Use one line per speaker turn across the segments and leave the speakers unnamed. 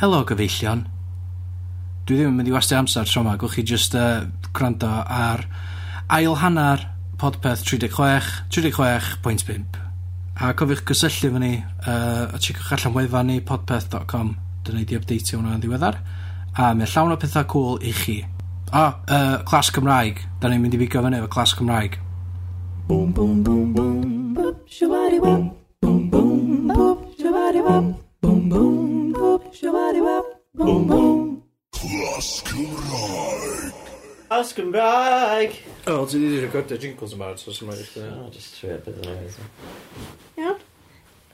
Helo gyfeillion. Dwi ddim yn mynd i wastio amser tro 'ma. Gewch chi jyst yy gwrando ar ail hannar podpeth tri deg chwech, tri deg chwech pwynt pump. A cofiwch cysylltu efo ni yy a tsieciwch allan wefan ni podpeth dot com. Dyna ni 'di ypdeitio hwnna yn ddiweddar. A mae o llawn o petha cŵl i chi. O, yy Clas Cymraeg. 'Dan ni'n mynd i bigo fyny efo Clas Cymraeg.
Boom, boom, boom, boom. Boop, shabadi wop. Boom, boom, boop, shabadi wop. Boom, boom, boop, shabadi wop. Boom, boom.
As Gymraeg!
O, ti wedi recordio jingles yma, so sy'n mynd i
O, jyst trio beth yna.
Iawn.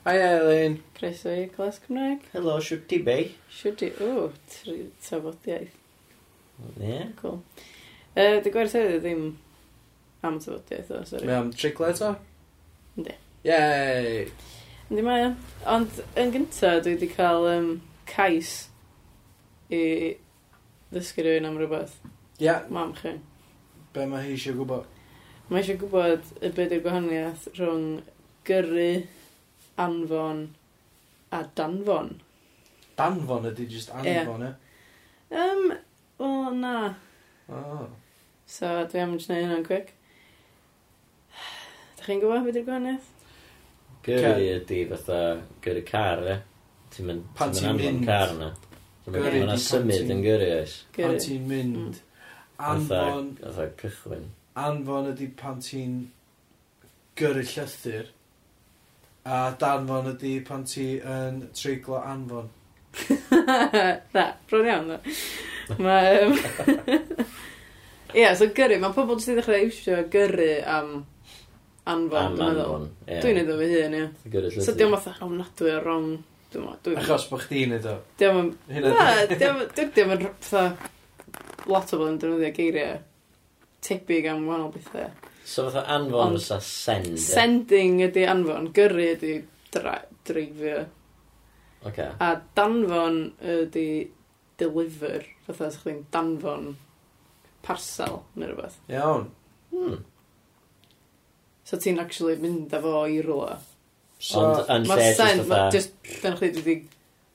Hi Eileen.
Croeso i Glas Cymraeg.
Helo, siwr ti bei?
Siwr di... O, tri- tafodiaeth.
Ie.
Cool. Uh, dy gwerth hefyd ddim am tafodiaeth o, sori.
am triglau eto?
Yndi.
Yay!
Yndi mae o. Ond yn gynta, dwi wedi cael um, cais i ddysgu rhywun am rhywbeth.
Ia,
Mam chi.
be mae hi eisiau gwybod?
Mae eisiau gwybod y beth yw'r gwahaniaeth rhwng gyrru, anfon a danfon.
Danfon ydi just anfon, e?
Um, wel, na.
O.
So, dwi am jyst neud hynna'n quick. Dach chi'n gwybod beth yw'r gwahaniaeth?
Gyrru ydi fatha, gyrru car, e? Ti'n mynd
Pan
ti'n
ti'n
mynd anfon
mynd.
car na. Ti'n mynd
Gyrru
anfon
ydi
a
pan
symud
ti'n-
yn gyrru, oes?
Pan
Gyrru.
ti'n mynd.
Fatha,
Anfon,
fatha cychwyn.
anfon ydi pan ti'n gyrru llythyr. A danfon ydi pan ti yn treiglo anfon.
Na, bron iawn, dda. Mae... Um... Ie, so gyrru, mae pobl jyst i ddechrau iwsio gyrru am anfon,
Am
dwi'n meddwl.
anfon. ie.
Dwi'n neud o fy hun, ie.
Fatha Gyrru
So, diolch fatha ofnadwy o wrong. Dwi'n meddwl.
Achos bod chdi'n neud o.
Diolch yn...
Hynna
Na,
ydi-
dwi'n diolch yn fatha... Lot o bobl yn defnyddio geiriau tebyg am wahanol bethau.
So fatha anfon
Ond-
fysa send. e?
Sending ydi anfon, gyrru ydi dra- dreifio.
Oce.
A danfon ydi deliver, fatha sa'ch chi'n danfon parsel neu rhywbeth.
Iawn.
Hmm.
So ti'n actually mynd â fo i rwla.
So,
Ond yn lle
Mae'r
jyst
send, mae
fatha...
just, dyna chdi wedi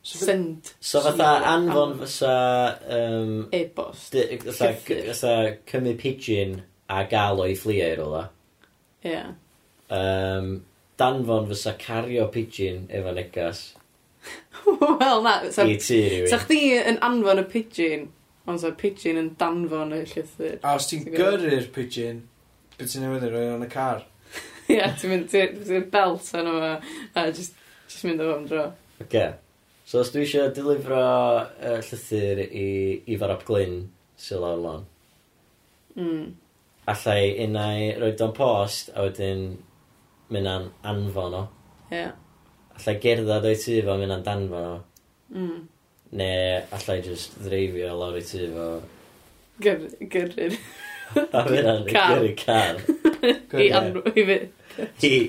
so be-
send
So fatha anfon fysa... yym,
e-bost.
Di- Fatha
Llythyr.
fatha cymryd pigeon a gael o'i fflio i rola.
Ie. Yeah.
Um, danfon fysa cario pigeon efo negas
Wel, na.
so,
Sa,
i tu
sa
rhywun.
chdi yn anfon y pigeon, ond sa'r pigeon yn danfon y llythyr.
a os ti'n gyrru'r pigeon, beth ti'n newydd i roi yn y car?
Ie, yeah, ti'n mynd, ti'n ti belt arno fo, a just, just mynd o fo am dro.
Oce. So os dwi eisiau dilifro uh, llythyr i Ifar Ap Glyn sy'n lawr lon,
Mm.
allai unai roi o'n post a wedyn mynd an anfon o.
Ie. Yeah.
Allai gerdded o'i tu fo mynd an danfon o.
Mm.
Neu allai just ddreifio lawr i tu fo.
Gyr- Gyrru'r
A mynd an
Car.
gyrru car.
I,
Gyrru.
anw- i fi.
I, i,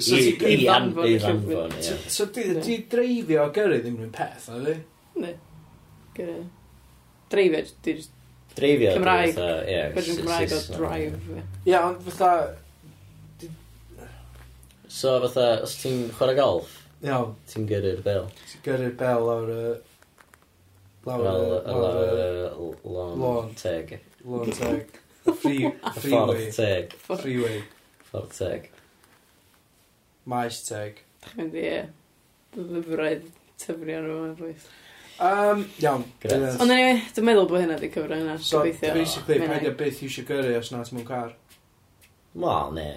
So
i,
ti-
i,
i
an-
ddanfon
i
y llyfr.
ddanfon, ie.
So, so di,
Ie.
di dreifio a gyrru ddim yn peth, na di?
Ne. Gyda. Dreifio, di just...
Dreifio.
Cymraeg.
fatha, ie,
Gwedyn
S-
Gymraeg o
Saesneg.
drive.
Ie, ond fatha...
So fatha, os ti'n chwarae golf,
Iawn,
ti'n gyrru'r bel.
ti'n gyrru'r bel lawr y... Lawr
Wel,
y...
y
Lawr y...
lawr y lawn
Lawn.
teg.
Lawr teg. Free,
Y ffordd
freeway.
teg.
Ffordd.
Freeway.
Ffordd teg.
Maes teg.
Dach chi'n mynd i, ie. Lyfraidd tyfrio nhw yn fwys.
Um, iawn.
Grêt.
dyna-
Ond anyway, dwi'n meddwl bod hynna di cyfro hynna.
So,
gobeithio.
basically,
Mae'n
paid o
neis.
beth i eisiau gyrru os na ti'n mwyn car.
Wel, ne.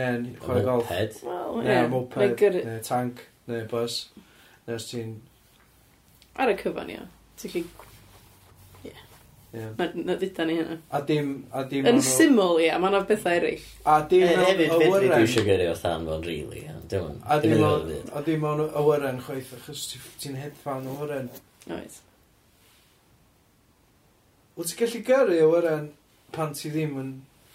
Nen, chwarae golf.
Moped.
Wel, ie.
Neu
Mae
moped,
gyrru-
neu tank, neu bus. Neu os ti'n...
Ar y cyfan, ie. Ti'n gallu...
ie.
Mae'n dduda ni hynna.
A dim... A dim...
Yn
o'n nhw-
syml, ie. Mae yna bethau eraill.
A
E,
dim...
Hefyd,
o'n
beth
awyren.
dwi eisiau gyrru o than fo'n rili. Dim
A
yn
dim
ymwneud
ond,
byd.
a dim ond awyren chwaith, achos ti- ti'n hedfan awyren.
Oes.
Wyt ti'n gallu gyrru awyren pan ti ddim yn...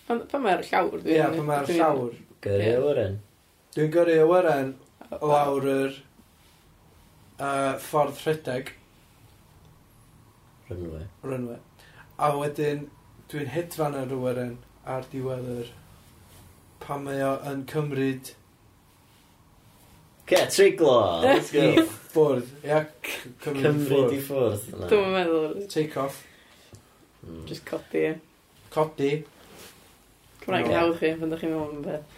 Pan pan mae'r llawr,
Ie, pan mae'r
dwi'n-
llawr.
Gyrru
Ie.
o wren.
Dwi'n gyrru awyren lawr yr uh, ffordd rhedeg,
Rynwy.
rynwe. A wedyn, dwi'n hedfan yr awyren ar diwedd yr... Pan mae o yn cymryd
Ge, triglo! Let's go!
Bwrdd. Ia, c- cymryd i
Cymryd i
ffwrdd.
ffwrdd. Na.
Dwi'n meddwl,
Take off.
Mm.
just codi. ie.
Codi.
Cymraeg
Ie.
yn hawdd chi, pan ydych chi'n meddwl am y beth.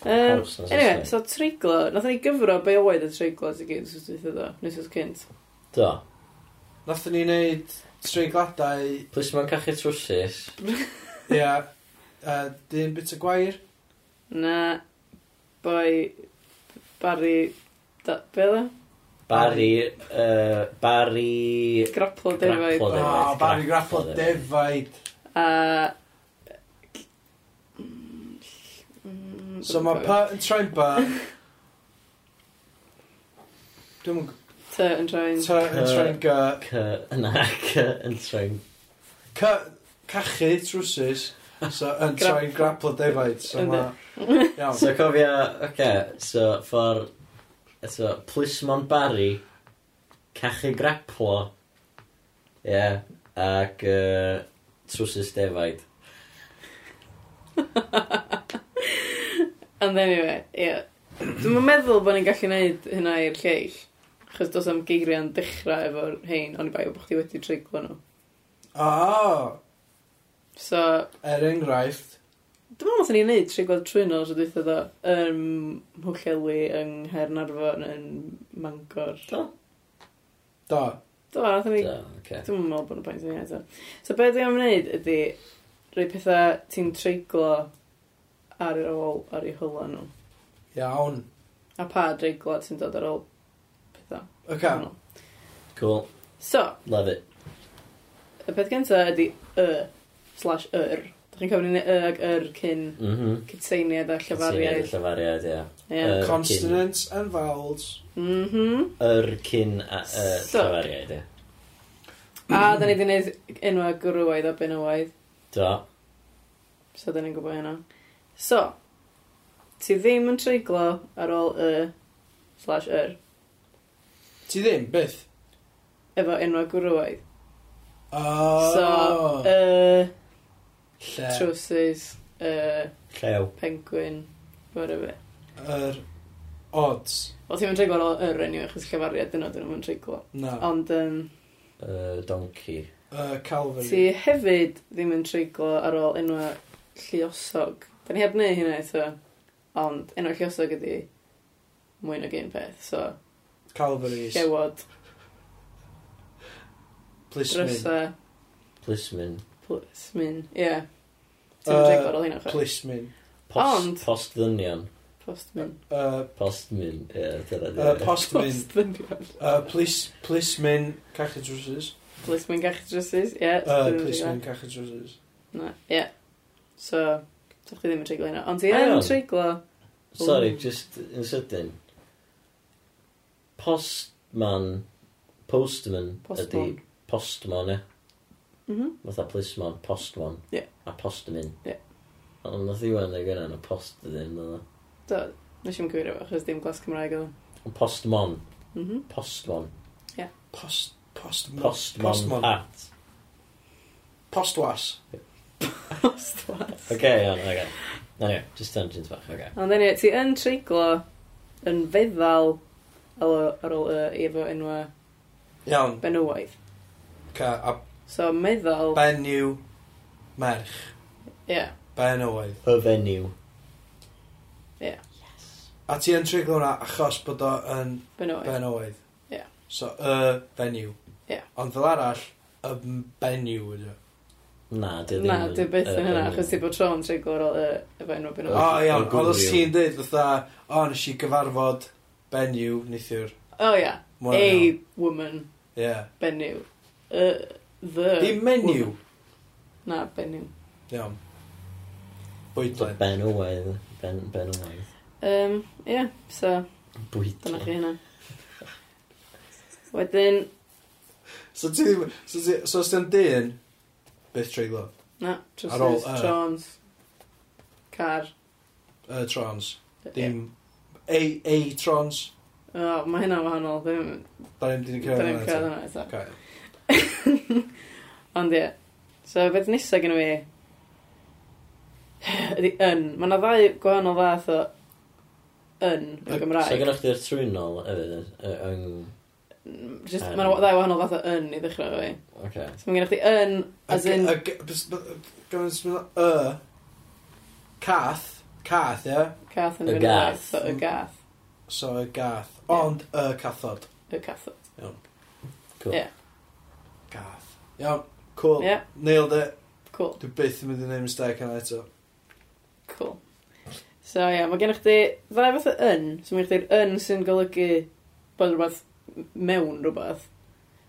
Um,
Haws na
anyway,
Saesneg.
so treiglo, nath ni gyfro be oedd y treiglo i gyd, sŵs dwi'n dweud o, nes oes cynt.
Do.
Nathon ni wneud treigladau,
Plis ma'n cachu trwsus.
ia, uh, dyn bit o gwair.
Na, boi, Barry, da, be oedd e? o?
Bari... Uh, bari...
Grapplo defaid.
O,
Grapple.
oh,
defaid,
bari
e grapple e
graffo defaid.
A... mm,
e
So mae pa yn troi'n ba, dwi'n mwyn
T yn traen.
ta yn troi'n ga,
C... Na, c... Yn troi'n...
ca, cachu trwsus, so yn troi'n graffo defaid. So
Yndi.
mae, iawn.
So cofio... Oce, so ffordd... So, plis ma'n bari... Cachu graplo. Ie. Yeah, ac... Uh, trwsus defaid.
And anyway, ie. Dwi'n meddwl bod ni'n gallu gwneud hynna i'r lleill. Chos does am geiriau'n dechrau efo'r hein, ond i bai o bod chdi wedi treiglo nhw.
O,
So,
er enghraifft,
dwi'n meddwl nath ni'n neud treiglo trwy'n os ydw eitha ddo. Yn Mhwllheli, yng Nghaernarfon, yn Mangor.
Do.
do,
Do, nath ni...
Do, oce.
Dwi'n meddwl bod y pwynt yn iawn. So, be dwi'n wneud ydy rhoi pethau ti'n treiglo ar yr ôl, ar eu hyla nhw.
iawn.
A pa dreiglo ti'n dod ar ôl pethau.
Oce,
Cool.
So,
Love it.
Y peth gynta ydy y slash yr. Dach chi'n cofyn i y ag yr cyn
Mhm.
cytseiniad a
Cytuniad
llyfariaid.
y Llefariad, ie.
Ie.
Yr cyn-
consonants and vowels.
Mhm.
Yr cyn a y
So-
llefariad, ie.
A da ni wedi gwneud enwau gwrwaidd a benywaidd.
Do.
So da ni'n gwybod hynna. So, ti ddim yn treiglo ar ôl y slash yr
Ti ddim, byth?
efo enwau gwrwaidd.
O,
So, y
lle,
trwsus, y
Llew.
penguin, whatever.
yr odds.
O ti'n mynd treiglo ar ôl yr enw, achos llefariad dyna dyn nhw'n treiglo.
Na,
Ond, yym,
Y donkey.
y Calvary.
Ti hefyd ddim yn treiglo ar ôl enwa lluosog. Da ni heb wneud hynna eto, ond enwa lluosog ydi mwy nag un peth. So,
Calvaries.
llewod,
Plismin.
drysa,
Plismin.
pl- smin, ie. Yeah. Ti'n uh, treiglo ar ôl hynna, chwe?
Plismin.
Post,
Ond-
Postddynion.
Postmin.
Y
Postmin. Ie, dyna
y
di.
postmin.
Postmin.
Y plis, plismin cachu drwsus.
Plismin gach drysus, ie.
Y
so ddim
Uh,
yn
plismin
treiglo.
cachu drwsus.
Na, ie. So, so chdi ddim yn treiglo hynna. Ond ti
Hang
yn
on.
treiglo...
Sorry,
Ooh.
just yn sydyn. Postman. Postman.
Postman.
Ydy postman, ie.
Mhm.
Fatha plisman. Postman.
Ie.
A postmin.
Ie.
Ond nath i wan ag yna yn y post ydyn. oedd o?
Do, nes i'n gwirio fo, chos dim glas Cymraeg oedd.
Ond Postmon.
Mhm.
Postmon.
Post, postman.
Postmon.
Postman.
Pat.
Postwas.
Postwas.
Oce, iawn, oce. Anyway, just tangent bach, oce.
Ond anyway, ti yn treiglo yn feddal ar ôl- ar ôl y efo enwa
Iawn.
benywaidd.
Ca, a
So meddal... Ie.
benyw merch.
Yeah.
Benywaidd.
Y fenyw.
A ti yn triglo hwnna achos bod o yn
Benywaidd.
benywaidd.
Ie.
So, y benyw.
Ie.
Ond fel arall, y m- e. benyw ydy. o.
Na, dy ddim.
Na,
yn
dy byth
y
yn hynna,
fenyw.
achos ti bod tro'n treiglo ar ôl y efo enwa
O,
benywaidd.
O,
oh, iawn.
o
Ond os
gwryw.
ti'n dweud, fatha, o, nes i gyfarfod benyw neithiwr.
O ia.
Mwy na
A
iawn.
woman
Ie.
benyw. Y- The.
Dim menyw.
woman. Na, benyw.
Iawn.
So,
Bwydlen.
Ben Owaith. Ben, ben Owaith.
Um, ie, yeah, so dyna
Bwyta.
chi hynna. Wedyn,
So ti ddim... So, ti, so os ti'n dyn, byth treiglo.
na,
Ar ôl
trwsus,
y.
trons, car.
Y trons.
Ie.
Dim... A, a trons.
O, mae hynna'n wahanol, ddim,
Da ni'n dyn i
Dyna
cyrraedd
ni'n
hwnna
cael
eto.
hwnna eto.
Gael.
Ond ie. So, beth nesaf gen i fi... Ydy yn. Mae yna ddau gwahanol fath o yn y
So
Gymraeg.
gynnwch chi'r trwynol hefyd, y- y- yng...
Just, mae yna ddau wahanol fath o yn i ddechrau fo i.
Oce.
So mae gennych chi yn, as in...
Gymryd smil y... Cath. Cath, ie?
Cath yn
Y
y
gath.
gath. So y gath.
So y gath. Ond y cathod.
Y cathod.
Cool.
Ie.
Gath. Iawn, cool.
Ie.
Nailed it.
Cool.
Dwi byth yn mynd i neud mistake yna eto.
Cool. So ia, mae gennych chi ddau fath o yn. So mae gennych chi'r yn sy'n golygu bod rhywbeth m- mewn rhywbeth.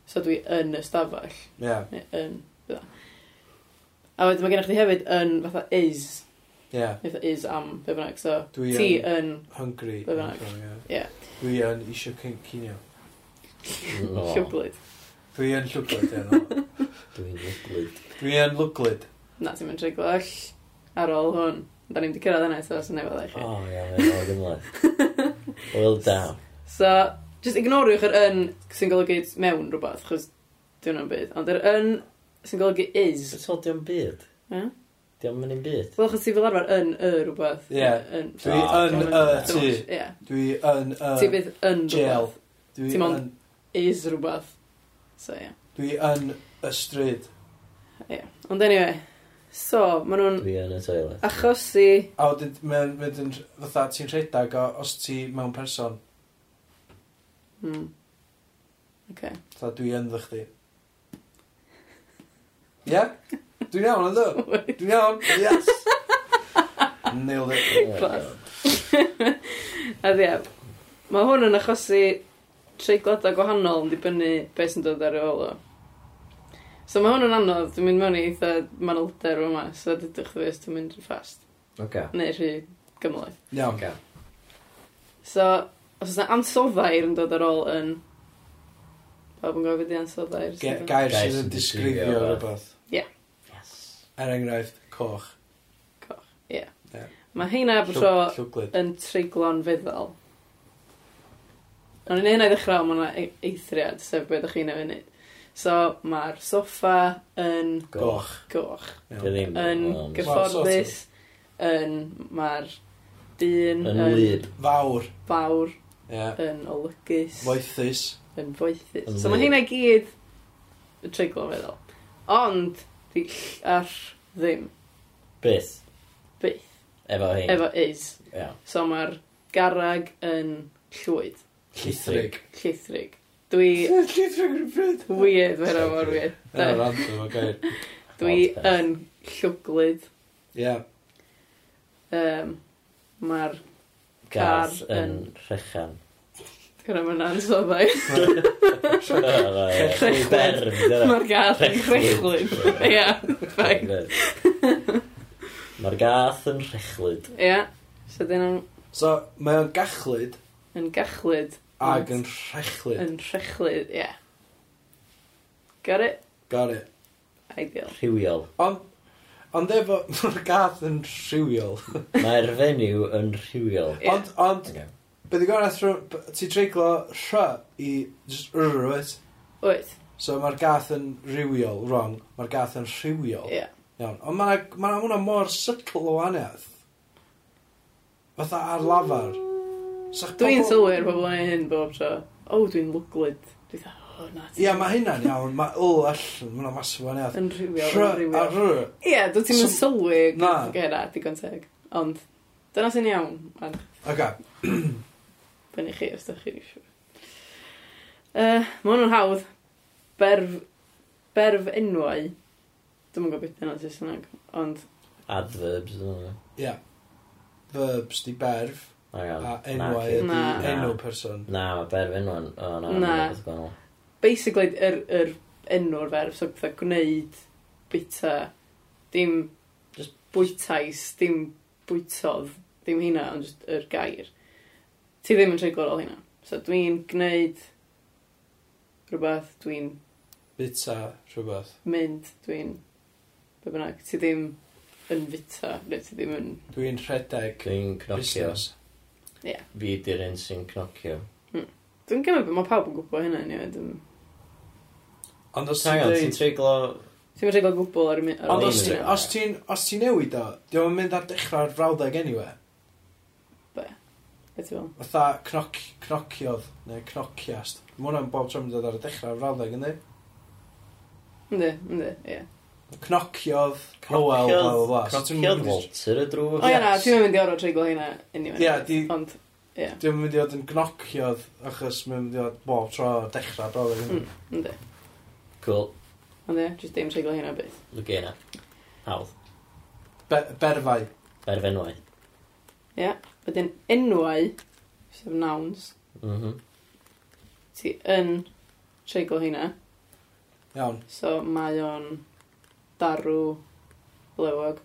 So dwi yn y stafell.
Ie.
Neu yn. bydda. A wedyn mae gennych chi hefyd yn fatha is.
Ie.
Fatha is am be bynnag. So
Dwi
ti
yn-
yn
Hungry.
Be bynnag. Ie.
Dwi yn eisiau cyn- cinio.
No,
llwglyd.
Dwi yn llwglyd, ie. no.
Dwi'n lyglyd.
Dwi yn lwglyd.
Na, ti'n mynd rhywbeth ar ôl hwn. Da ni'n di cyrraedd yna, so sy'n nefod eich.
O, ia, mae'n o gymlaeth. Well down.
So, just ignoriwch yr yn sy'n golygu mewn rhywbeth, chos dwi'n o'n byd. Ond yr yn sy'n golygu is.
Sut o diom byd?
Ie?
Diom mynd i'n byd?
Wel, chos ti fel arfer yn y rhywbeth.
Ie.
Yn-
Dwi
Ah,
yn
Dwi'n
y
meddwl-
tŷ.
Ie.
Dwi yn
Ti
y...
bydd yn
jail.
rhywbeth.
Dwi
Ti'n
yn...
ond- Is rhywbeth. So, ie.
Dwi yn y stryd.
Ie. Ond anyway. So, maen nhw'n
Dwi yn y toilet.
achosi...
A wedyn, mae'n mynd yn fatha ti'n rhedeg o- os ti mewn person.
Hmm. Okay.
Fatha dwi yn ddych chi. Ie? Dwi'n iawn, ynddo? Dwi'n iawn, yes! Nailed it.
Class. A ie. Mae hwn yn achosi treigladau gwahanol yn dibynnu beth sy'n dod ar ôl o. So mae hwn yn anodd, dwi'n mynd mewn i eitha manylder o yma, so dydych chi os dwi'n mynd rhy fast.
Oce.
Neu rhy gymlaeth.
Iawn.
Oce.
So, os yna ansoddair yn dod ar ôl yn... Pawb yn gofyd i ansoddair.
Ge- Gair
Gair
sydd
sy'n
yn disgrifio
disgrifio
rhywbeth.
Yes.
Er enghraifft, coch.
Mae heina bod tro
Llw- Llwglyd.
yn treiglon feddal. Ond yn hynna i ddechrau, mae yna e- eithriad, sef beth ydych chi'n ei wneud. So, mae'r soffa yn
Goch.
goch,
Iawn.
Dwi ddim
yn
ond-
gyfforddus, yn mae'r dyn
Yn wlyb.
Fawr.
fawr,
Ie.
yn olygus,
Moethus.
yn foethus.
Yn
So, mae
wlyb.
hynna i gyd y treiglon feddal. Ond, di ll ar ddim,
Byth.
byth,
Efo hyn.
efo is.
Iawn.
So, mae'r garag yn llwyd.
Llithrig.
Llithrig. Dwi...
Llithrig yn bryd.
Weird, fe hynna mor weird.
Ie, random o gair.
Dwi
Odd peth.
yn llwglyd.
Ie.
Um, Mae'r
Garth
car
yn
yn-
rhechan.
gyda mae'n ansoddau.
Rhechlwyd. Berf, dyna.
Mae'r gath yn
Rechlwyd.
chrechwyd. Ia, ffaith.
Mae'r gath yn rhechlyd.
Ia. So dyn nhw'n
So, mae o'n gachlyd
yn gachlyd.
ag yn rhechlyd.
Yn rhechlyd, ia. Got it?
Got it.
Ideal.
Rhywiol.
Ond, ond efo, mae'r gath yn rhywiol.
Mae'r fenyw yn rhywiol.
Ie.
Ond, ond,
Ocê.
Bydd y gorau thr- b- ti treiglo rh i just rr, wyt?
Wyt.
So mae'r gath yn rhywiol, wrong. Mae'r gath yn rhywiol.
Ia.
Iawn. Ond mae'n ma hwnna mor sytl o waniaeth. Fatha ar lafar. Sa'ch
Dwi'n
pobol-
sylwi'r pobl yn hyn bob tro. O, dwi'n lwglyd. Dwi'n dda, o, na. ti-
Ia, mae hynna'n iawn. Mae o all, mae hwnna masif o waniaeth.
Yn rhywiol.
Rh
yn
a
rhywiol.
rh.
Ie, dwi ti'n mynd
So-
sylwi
Na.
gyda digon teg. Ond, dyna sy'n iawn. A
Oga,
Fyny chi os da chi'n eisiau. Uh, mae nhw'n hawdd. Berf, berf enwau. Dwi'n gwybod beth yna'n Saesneg. Ond,
Adverbs. ydyn nhw.
ia. Verbs di berf
Hang
a
on.
enwau
Na,
ydi
Na.
enw person.
Na, mae berf enw'n... O, na,
Na.
mae'n rhywbeth gwahanol.
basically, yr er, er enw'r ferf. So, bethau gwneud, bita, dim
Just-
bwytais, dim bwytodd, dim hynna, ond just yr gair. Ti ddim yn treiglo ar ôl hynna. So, dwi'n gwneud rhywbeth, dwi'n
Bita, rhywbeth.
mynd, dwi'n... Be bynnag, ti ddim yn fita, neu ti ddim yn...
Dwi'n rhedeg
Dwi'n cnocio.
busnes.
Fi di'r un sy'n cnocio.
Dwi'n gymryd bod mae pawb yn gwybod hynna, ni oedd yn...
Ond os ti'n
Hang on,
dweud...
ti'n treiglo...
Ti'n mynd rhaid gwbl ar y mi- ar y
Ond
Ar
os
lein
ti-
yna.
os ti'n os ti newid o, diolch yn mynd ar dechrau'r frawddeg anyway.
Beth ti'n fel?
Fatha cnoc, cnociodd, neu cnociast. Mae hwnna'n bob tro mynd ar y dechrau'r frawddeg, yndi?
Ynddi, ynddi, ie.
Cnociodd, Hywel, bla bla bla. So ti'm yn
Cnociodd
mynd i-
Walter y drwg.
O ie na,
Yes.
ti'n mynd i orau treiglo hynna anyway.
Ie, di-
Ond, ie,
Dwi'n mynd i fod yn gnociodd achos mae'n mynd i fod bob tro ar dechrau brawddeg hynny.
Mm. ynddi.
Cool.
Ond ie, jyst dim treiglo hynna byth.
Look at Hawdd.
Be berfau.
Berfenwau.
Wedyn, enwau, sef nouns,
Mhm.
ti yn treiglo hynna.
Iawn.
So mae o'n darw, lewog,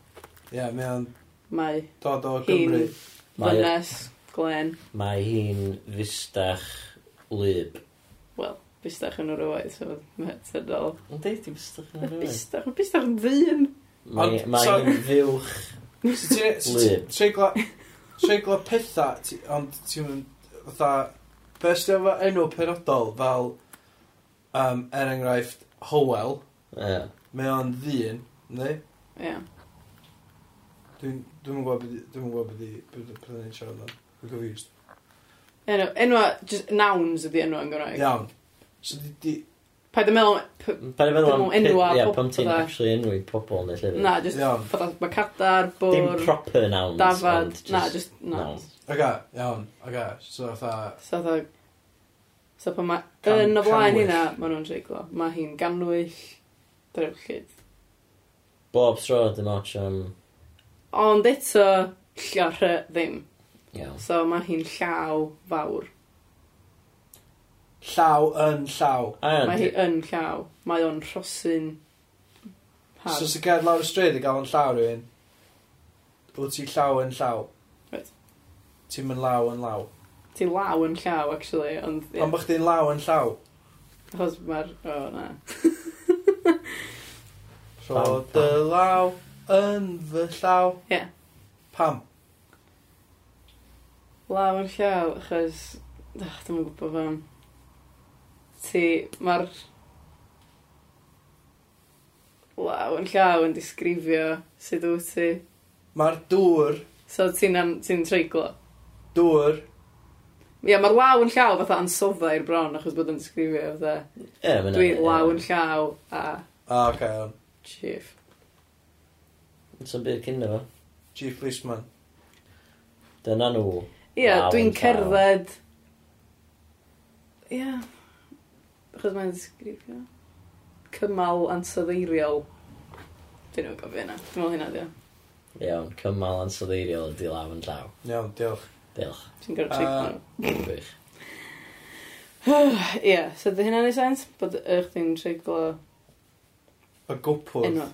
Ie, yeah, mae o'n
mae
dod o Gymru.
hi'n
Mae-
fynes, glen,
Mae hi'n fustach lyb.
wel, bustach yn yr oed, so mae'n tydol.
Ynddi, ti'n fustach yn yr oed.
Bustach, bustach ddyn.
Mae
Ond,
mae
so-
hi'n fywch.
So ti- so ti-
Lyb.
Treiglo treiglo pethau, ti- ond ti'n mynd, fatha, be os ti'n efo enw penodol fel, um, er enghraifft, Howell,
Ie.
mae o'n ddyn, neu?
Ie.
Dwi'n dwi'n gwybod beth i- dwi'n gwybod beth i- beth i- beth i'n siarad am. Dwi'n confused.
Enw, enwa, just nouns ydi enw yn Gymraeg.
Iawn. So di, di,
Paid yn meddwl, p-
Pa'n meddwl am...
Dwi'n enwa
Ie,
pobl
pam ti'n
fatha.
actually enwi pobl neu llyfr.
na, just
Iawn.
fatha macadar,
Dim
bwr,
proper nouns.
dafad,
ond
na,
just
just nouns.
aga, iawn, aga, so fatha,
So fatha, so pan mae,
Can-
yn y blaen
canwyll.
hynna, maen nhw'n treiglo. Mae hi'n ganwyll, drewllyd.
Bob tro dim ots am...
Ond eto, llor ddim.
Iawn.
So mae hi'n llaw fawr.
llaw yn llaw.
A
Mae hi
iawn,
yn llaw. Mae o'n rhosyn
So
hard.
sy'n gael lawr y stryd i gael yn llaw rhywun, wyt ti llaw yn llaw.
Reit.
Ti'n mynd law yn law.
Ti law yn llaw, actually, ond... ie.
Ond bych ti'n law yn llaw.
Achos mae'r... O, na.
Rho
Pam, pam.
dy law yn fy llaw.
Ie.
Pam?
Law yn llaw, achos... Ach, dwi'n gwybod fan. Ti... Mae'r... Law yn llaw yn disgrifio sut wyt ti.
Mae'r dŵr,
So ti'n am- ti'n treiglo.
dŵr,
Ie, mae'r law yn llaw fatha ansodda i'r bron, achos bod yn disgrifio fatha...
Ie, ma' hynna-
Dwi
ie.
law yn llaw a
a okay, iawn.
chief.
Sa'm byd cyn efo.
Chief Policeman.
Dyna nhw.
Ie,
Law
dwi'n
yn llaw.
cerdded... Ie. Achos mae'n disgrifio. Cymal ansoddeiriol. Dwi'n nhw'n gofio hynna. Dwi'n meddwl hynna, dio.
Iawn, cymal ansoddeiriol ydi law yn llaw.
Iawn, diolch.
Diolch.
Ti'n gorau
Yy.
treiglo.
Gwych.
nhw. Ie, so dy hynna'n ei sens? Bod ych ti'n treiglo
Y gwpwrdd.
enw.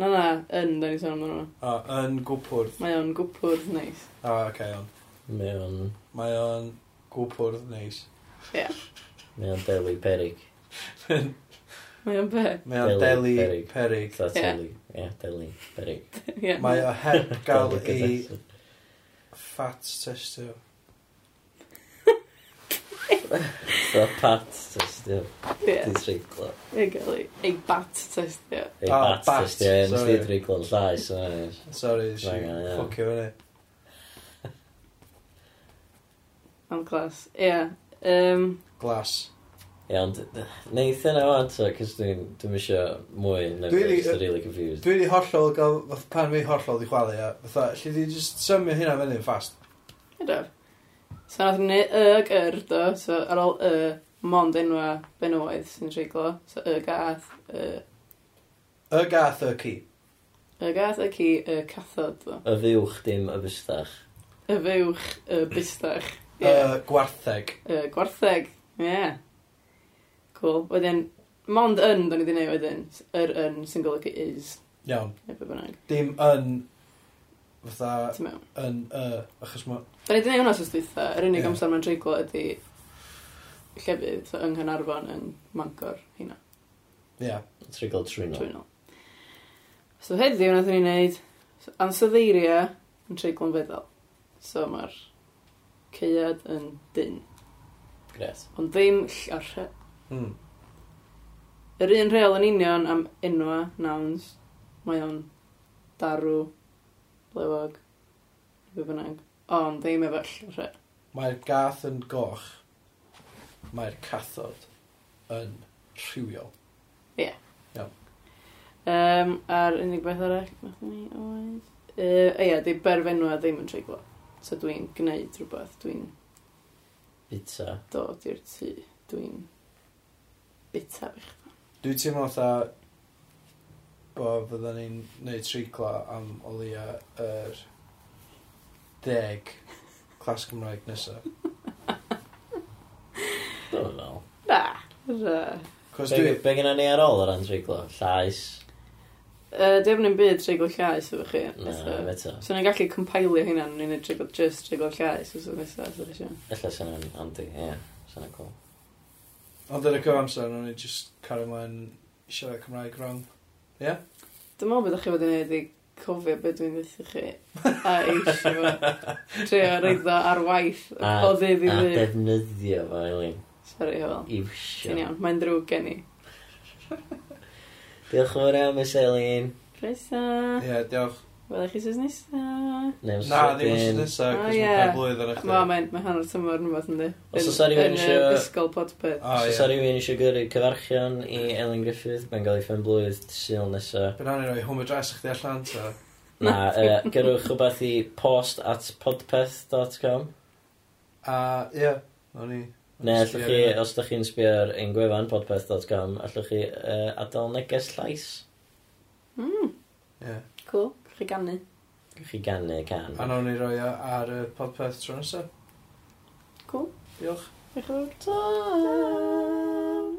Na na, yn, da ni sôn amdano. nhw.
A, yn gwpwrdd.
Mae o'n gwpwrdd neis.
A, okay, iawn.
Mewn...
Mae o'n gwpwrdd neis.
Mewn deli perig.
Mae o'n be.
Mae o'n
Deli,
deli
peryg.
peryg.
Tha
Ie.
teli. Ie, deli perig.
Ie.
Mae o heb gael i
Ie.
fat testio.
So pat testio.
Ie.
Ti'n triglo.
Ie, gael ei- ei bat testio.
Ei
Ah,
bat
bat,
testio. Ie, nes
sorry.
di triglo yn llais. so hynna is.
Sorry, nes i
Hang on, iawn.
ffwcio fyny.
Am glas. Ie. Um,
Glas.
Ie, ond neith yna o ato, cos dwi'n dwi'n eisiau mwy neu
Dwi 'di-
beth, dwi'n really confused.
Dwi wedi hollol gael, fath pan fi hollol di chwalu, ia. Fatha, lle di just symud hynna fyny'n fast.
Ydw. So nath ni y gyr, do. So ar ôl y, mond enwa benywaidd sy'n treiglo. So y gath, y,
Y gath y ci.
y gath, y ci, y cathod, do.
Y fiwch dim y bystach.
Y fywch, y bustach. Ie.
Y gwartheg.
Y gwartheg. Ie. Yeah. Cool. Wedyn, mond yn, do ni di neud wedyn. S- Yr yn sy'n golygu is.
Iawn.
Neu be bynnag.
Dim yn, fatha,
Ti'n mewn.
yn y, achos ma...
Da ni di neud hwnna sy'n dwytha. Yr unig
Ie.
amser mae'n treiglo ydy llefydd so, yng Nghanarfon yn Mangor, hynna.
Ia.
Triglo trwyno.
Trwy nôl. So heddiw nath ni'n neud ansoddeiriau yn treiglo'n feddal. So mae'r ceiad yn dyn.
Gret.
Ond ddim llarhe.
Hmm.
Yr un rheol yn union am enwa, nouns, mae o'n darw, blewog, be bynnag. ond ddim efo llre.
Mae'r gath yn goch. Mae'r cathod yn rhywiol.
Um, a'r unig beth arall nathon ni oedd... Uh, ia, di berfenwa ddim yn treiglo. So dwi'n gwneud rhywbeth, dwi'n
Bita.
dod i'r tŷ, dwi'n bita bych.
Dwi'n teimlo fatha bo fydden ni'n neud tricla am o leia yr deg clas Cymraeg nesaf.
Dwi'n meddwl.
Da! Da!
Cos
Be
dwi...
be gynna ni ar ôl yr antriglo? Llais.
Uh, dim yn byd treiglo llais efo chi.
Na,
fatha.
beta.
So ni'n gallu compilio hynna yn unig treiglo, just treiglo llais os oedd nesaf. os ydych chi isio.
Ella sy'n yn andy, ie. Sy'n yn cool.
Ond yn y cyfamser, nhw'n ni just cario mlaen i siarad Cymraeg wrong.
Dwi'n meddwl bod chi wedi gwneud i cofio beth dwi'n dweud chi. A eisiau fo. Trio reid o ar waith
A-
o ddydd i
A
ddydd.
defnyddio fo, Eileen.
Sorry, hwyl. Ti'n
Iwsio.
iawn, mae'n drwg gen i.
Diolch yn fawr iawn, Miss Eileen.
Croeso.
Ie, yeah, diolch.
Wel, chi sy'n nesa.
Na,
Na, ddim yn sy'n nesaf,
O,
cos
ie.
mae'n pen blwydd ar
Oh, Ma,
eich.
mae'n ma hanner tymor yn fath ynddi.
Os
Yn-
oes 'na rywun
yn y
isio-
Ysgol podpeth.
O,
Os oes
ie.
rhywun eisiau gyrru cyfarchion i Elin Griffith, mae'n gael ei phen blwydd syl nesaf.
Bydd anna roi home address eich di allan, ta.
Na, uh, gyrwch rhywbeth i post at podpeth.com.
A, ie, o'n i.
Neu allwch chi, os ydych chi'n sbio ar ein gwefan podpeth.com, allwch chi uh, adael neges llais.
Mm,
Ie.
cool. Chi gannu.
Gwych chi gannu can.
A nawn ni roi o ar y podpeth tro nesaf.
Cool.
Diolch.
Diolch yn fawr. Ta.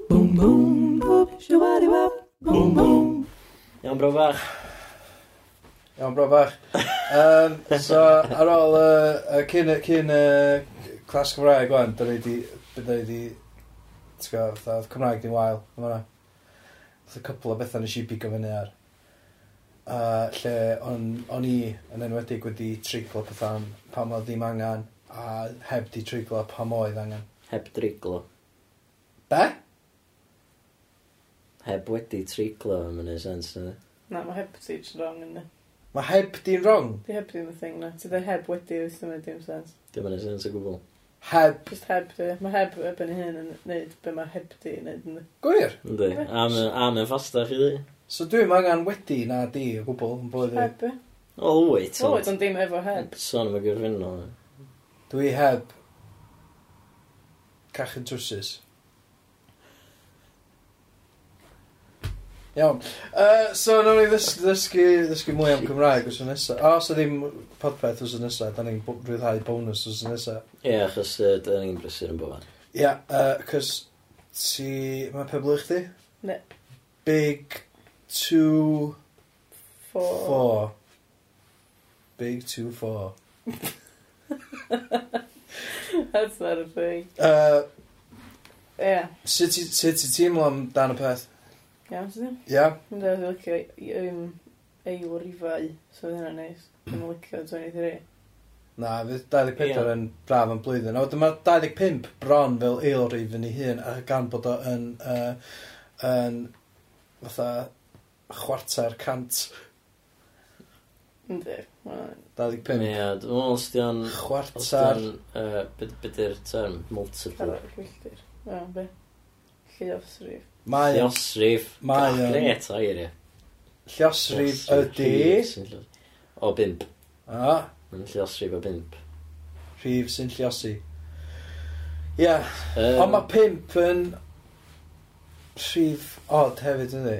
Boom boom boop shabadi wop. Boom boom.
Iawn, bro fach.
Iawn, bro bach. um, so, ar ôl, uh, cyn, cyn uh, clas Cymraeg, gwan, dyna i di, dyna i di, ti'n gwybod, fatha, oedd Cymraeg di'n wael, yma na. Oedd y cwpl o bethau nes i bigo fyny ar. A lle o'n, o'n i yn enwedig wedi triglo pethau am pam oedd ddim angen, a heb di triglo pam oedd angen.
Heb driglo.
Be?
Heb wedi triglo yn mynd sens na.
Na, mae heb ti'n wrong yn
Mae heb di'n wrong.
Di heb ddim y thing na. Ti dde heb wedi wyth yma dim sens.
Dim yn sens o gwbl.
Heb.
Just heb di. Mae heb ebyn hyn yn neud be mae heb di yn neud yn
Gwyr.
Ynddi. Am, am yn ffastach i ddi.
So dwi'n angen wedi na di o gwbl yn bwyd i.
heb.
O, wyt.
O, ond dim efo heb.
Son efo gyrfinol.
Dwi heb cachyn trwsus. Iawn. Uh, so, nawn ni ddys- ddysgu, ddysgu mwy am Cymraeg os y nesaf. O, os ddim podpeth os y nesaf, da ni'n bo- rhyddhau bonus os y nesaf.
Ie, achos uh, da ni'n brysur yn bobl.
Ia, yeah, uh, cys ti... Mae pebl i chdi?
Ne.
Big two
Four.
four. Big two four.
That's not a thing.
Uh,
Ie.
sut ti- sut ti teimlo amdan y peth?
Iawn, sydd ddim?
Ia? Yeah?
Ynddo, dwi'n licio um, eil rifau, so oedd hynna'n neis. Dwi'n licio 23.
Na, fydd 24
Ie.
yn braf yn blwyddyn. A wedyn mae 25 bron fel eilrif yn ei hun, a gan bod o yn, uh, yn fatha, chwarter cant.
Ynddo, mae'n
25.
Ie, dwi'n meddwl os di o'n... Os di
Chwarter.
o'n... yy, beth- Beth yw'r term? Multiple.
arall wylltir. O, be? Llioffs rif.
Mae o'n
Lliosrif.
Mae o'n-
Gret air, ie.
lliosrif ydi.
Lliosrif. O bimp.
A,
Mae'n lliosrif o bimp.
rhif sy'n lliosi. Ia,
Yym,
ond mae 5 yn rhif odd hefyd yndi.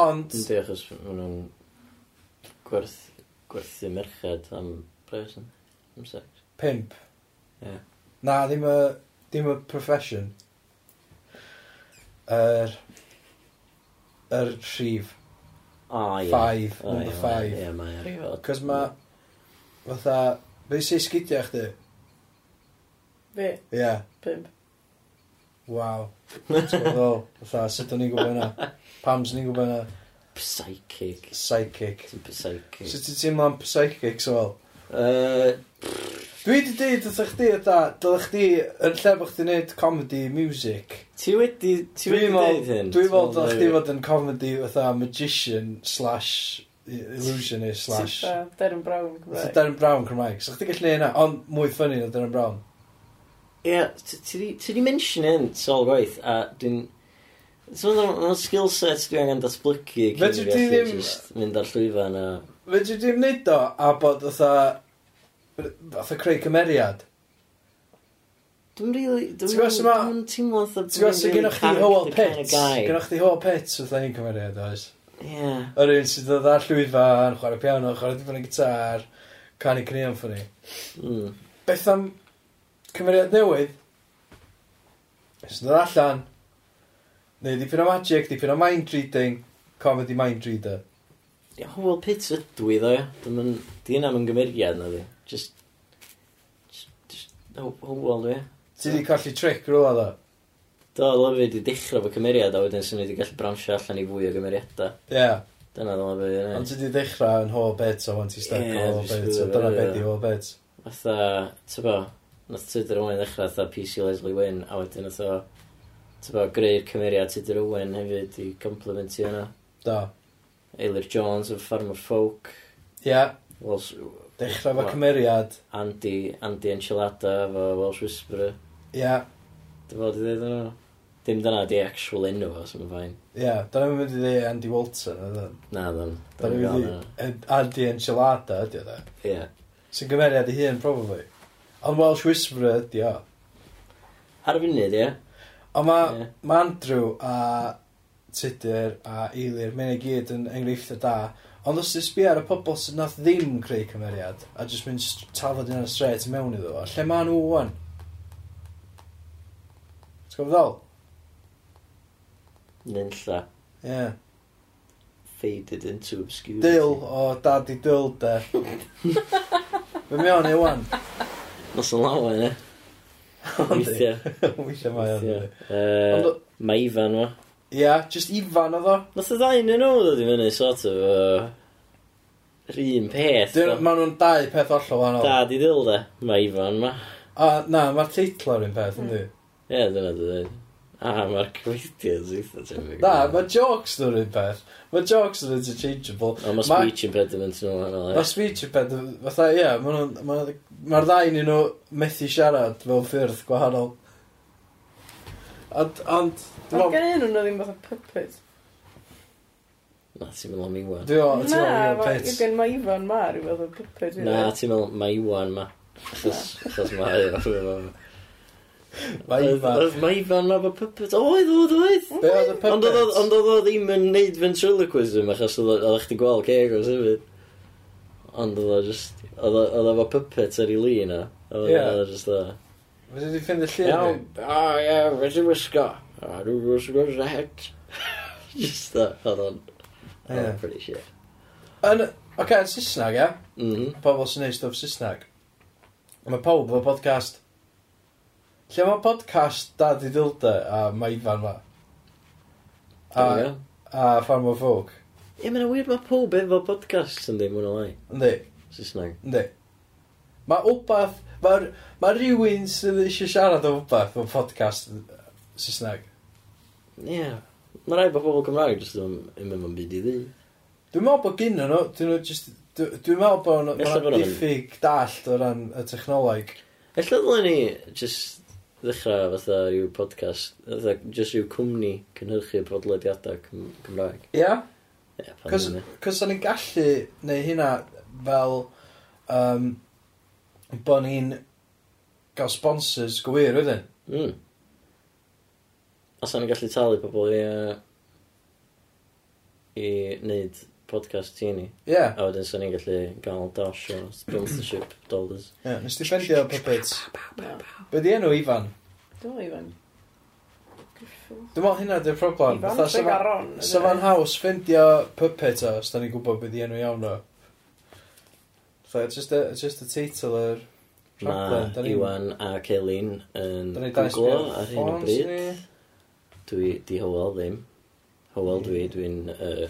Ond,
Yndi, achos maen nhw'n gwerth, gwerthu merched am pres yn am sex.
5.
Ie.
Na, ddim y, ddim y profession. Yr... Yr rhif.
O, ie.
Five,
O, ie,
number
mae-
five.
Ie, mae ar ei fod.
Cos ma... Fatha... Fe sy'n sgidio chdi?
Be?
Ie. Yeah.
Pimp.
Waw. Twyddol. Fatha, sut o'n i'n gwybod yna? Pam sy'n i'n gwybod yna?
Psychic.
Psychic.
Ti'n psychic.
Sut ti'n teimlo am psychic, sôl?
Yy,
Dwi wedi dweud wrth chdi yda, dylech chdi, yn lle bod chdi'n neud comedy, music.
Ti wedi... Ti wedi
Dwi'n meddwl-
dweud hyn?
Dwi fod dylech chdi fod yn comedy fatha magician slash illusionist slash...
Sutha, Darren Brown
Fatha
Cymraeg.
Darren Brown Cymraeg. So chdi gallu neud na, ond mwy ffynnu na Darren Brown.
Ie, ti- ti 'di- ti di mention hyn sol gwaith, a dwi'n... So, mae'n skill set dwi angen datblygu cyn
Fedri
i
di
gallu
ddim-
jyst mynd ar llwyfan a...
Fedri ddim neud o, a bod fatha... Fatha creu cymeriad.
Dwi'n rili...
Ti'n gwbod sut ma-
Dwi'n teimlo fatha...
Ti'n gwybod sy'n gennych chi whole pits? Gennych chi whole pits fatha un cymeriad, oes?
Ie.
Yr un sydd dod ar llwyfan, chwarae piano, chwarae dipyn o gitar, canu cnion ffynnu.
Mm.
Beth am cymeriad newydd? Sy'n dod allan. Neu dipyn o magic, dipyn o mind reading, comedy mind reader.
Ie, Hywel Pits ydw i ddo, ie. Dwi'n mynd... Di yna mewn gymeriad na ddi. Just... just- Just... How- Hywel dwi.
Ti di colli trick rhywle ddo?
Do, lyfu di dechrau fo cymeriad a wedyn sy'n ni di gallu bransio allan i fwy o gymeriadau.
Ie. Yeah.
Dyna ddyn nhw'n byd.
Ond ti di dechrau yn whole bit o want i stack
Ie,
yeah, whole
just
bit. So
rhyw-
dyna
ie.
beth di whole bit.
Fatha, ti'n bo, nath Tudor Owen ddechrau fatha PC Leslie Wynn, a wedyn nath o, ti'n bo, greu'r cymeriad Tudor Owen hefyd i complimentio yna.
Do.
Eilir Jones of Farmer Folk,
Ie. Yeah.
Welsh,
Dechrau fo
Wel,
cymeriad.
Andy, Andy Enchilada efo Welsh Whisperer.
Ie. Yeah.
Dy fod i ddweud yna? Dim dyna di actual enw o, sy'n fain.
Ie. Yeah. Dyna mynd i ddi Andy Walton. e. ydyn?
Na, ddyn.
Dyna
Dyna gael
mynd i
yna.
En- Andy Enchilada ydi o da.
Ie.
Sy'n gymeriad i hun, probably. Ond Welsh Whisperer ydi o.
Ar y funud, ie.
Ond ma,
Ie.
ma Andrew a Tudur a Eilir, mae'n i gyd yn enghreifftiau da. Ond os ti'n sbio ar y pobol sydd nath ddim creu cymeriad a jyst mynd st- tafod yn y stret mewn iddo fo, lle ma nhw wan? T'w gwybod ddol?
Nynlla.
Ie. Yeah.
Faded into obscurity.
Dil o dad i dil de. Fe mewn i wan.
Nos yn lawen, ie. Weithio.
Weithio mae o'n.
Weithio.
dydi?
Yy,
Ond-
Mae Ifan, ma.
Ie, jyst ifan oedd o.
Nath y ddau yn nhw ddod i fyny sort of uh, un peth.
Dyn-
ma...
Ma nhw'n dau peth ollol wahanol.
Dad i ddil de, mae Ifan ma.
A na, mae'r teitl o'r un peth yn
Ie, yeah, dyna dy dweud. A, mae'r cyfeithiad eitha tebyg.
Na, mae jokes nhw'n un peth. Mae jokes nhw'n interchangeable.
O, mae
ma-
speech impediment nhw wahanol,
Mae
ie.
speech yn peth, fatha, ie, yeah, mae'r ddain i nhw methu siarad mewn ffyrdd gwahanol. Ond, ond, dwi'n meddwl-
Ond gen nhw ddim fatha puppet.
Na, ti'n meddwl am Iwan.
dwi'n meddwl, ti'n
Na,
meddwl,
mae-
pet.
gen mae Ifan ma rhyw fath o puppet. i
Na,
ddweud.
ti'n meddwl mae Iwan ma. Chos chos mae o.
Mae Ivan.
Oedd mae Ifan ma fo puppet. Oedd, oedd, oedd.
Be oedd y
Ond oedd o-
puppets?
ond oedd o ddim yn neud ventriloquism achos oedd o- oedd chdi gweld Kegos hefyd. Ond oedd o just... Oedd o- oedd o fo puppet ar ei lu yna. Oedd
Ie.
o- oedd o just dda.
Fe wedi ffind y llun?
Iawn, o ie, fe ti'n wisgo. O, dwi'n wisgo zed. Just dda, oedd o'n... Oedd
Ie.
o'n pretty shit.
Yn, oce, yn Saesneg, ie?
Mhm.
Pobl sy'n neud stwff Saesneg. Mae pawb efo podcast. Lle mae podcast dad i dilda a mae Ifan ma. A,
There we go.
a Farmer Folk.
Ie, mae'n wir mae pob efo podcasts yn ddim mwyn o lai.
Yndi?
Saesneg.
Yndi. Mae wbath, mae ma rhywun sydd eisiau siarad o wbath o podcast yy, Saesneg.
Ie. Mae rai bod pobl Cymraeg jyst yn yn mynd yn byd i ddi.
Dwi'n meddwl bod gyn nhw, dyn nhw just, dw- dwi'n meddwl bod nhw- ma'
Ella bod
nhw'n
nhw'n-
diffyg dallt o ran y technoleg.
Ella ddylen ni just ddechrau fatha rhyw podcast, fatha just rhyw cwmni cynhyrchu podlediadau Cym- Cymraeg.
Ia? Yeah?
Ie, pan
Cos
ddim, ie.
cos o'n i'n gallu neu hynna fel um, bod ni'n gael sponsors gwir wedyn.
Mm. Os o'n i'n gallu talu pobl i, uh, i wneud podcast ti ni,
Ie, yeah.
a wedyn sa'n i'n gallu gael dosh o sponsorship dollars.
yeah. nes ti ffendio puppets. Be di enw Ifan?
Dwi'n meddwl Ifan. Griffith.
Dwi'n meddwl hynna di'r problem.
Ifan
Fatha sa ma-
Tregaron.
Sa fan haws ffendio puppet o, os da ni'n gwybod beth i enw iawn o. So, it's just a, it's just a teitl yr...
Mae
Problem, 'dan ni'n-
Iwan a Celyn yn
Da ni'n dau sbio
gwglo
ar
Mm, ar hyn o
ffons
bryd.
ni.
Dwi di hywel ddim. Hywel dwi, dwi'n uh,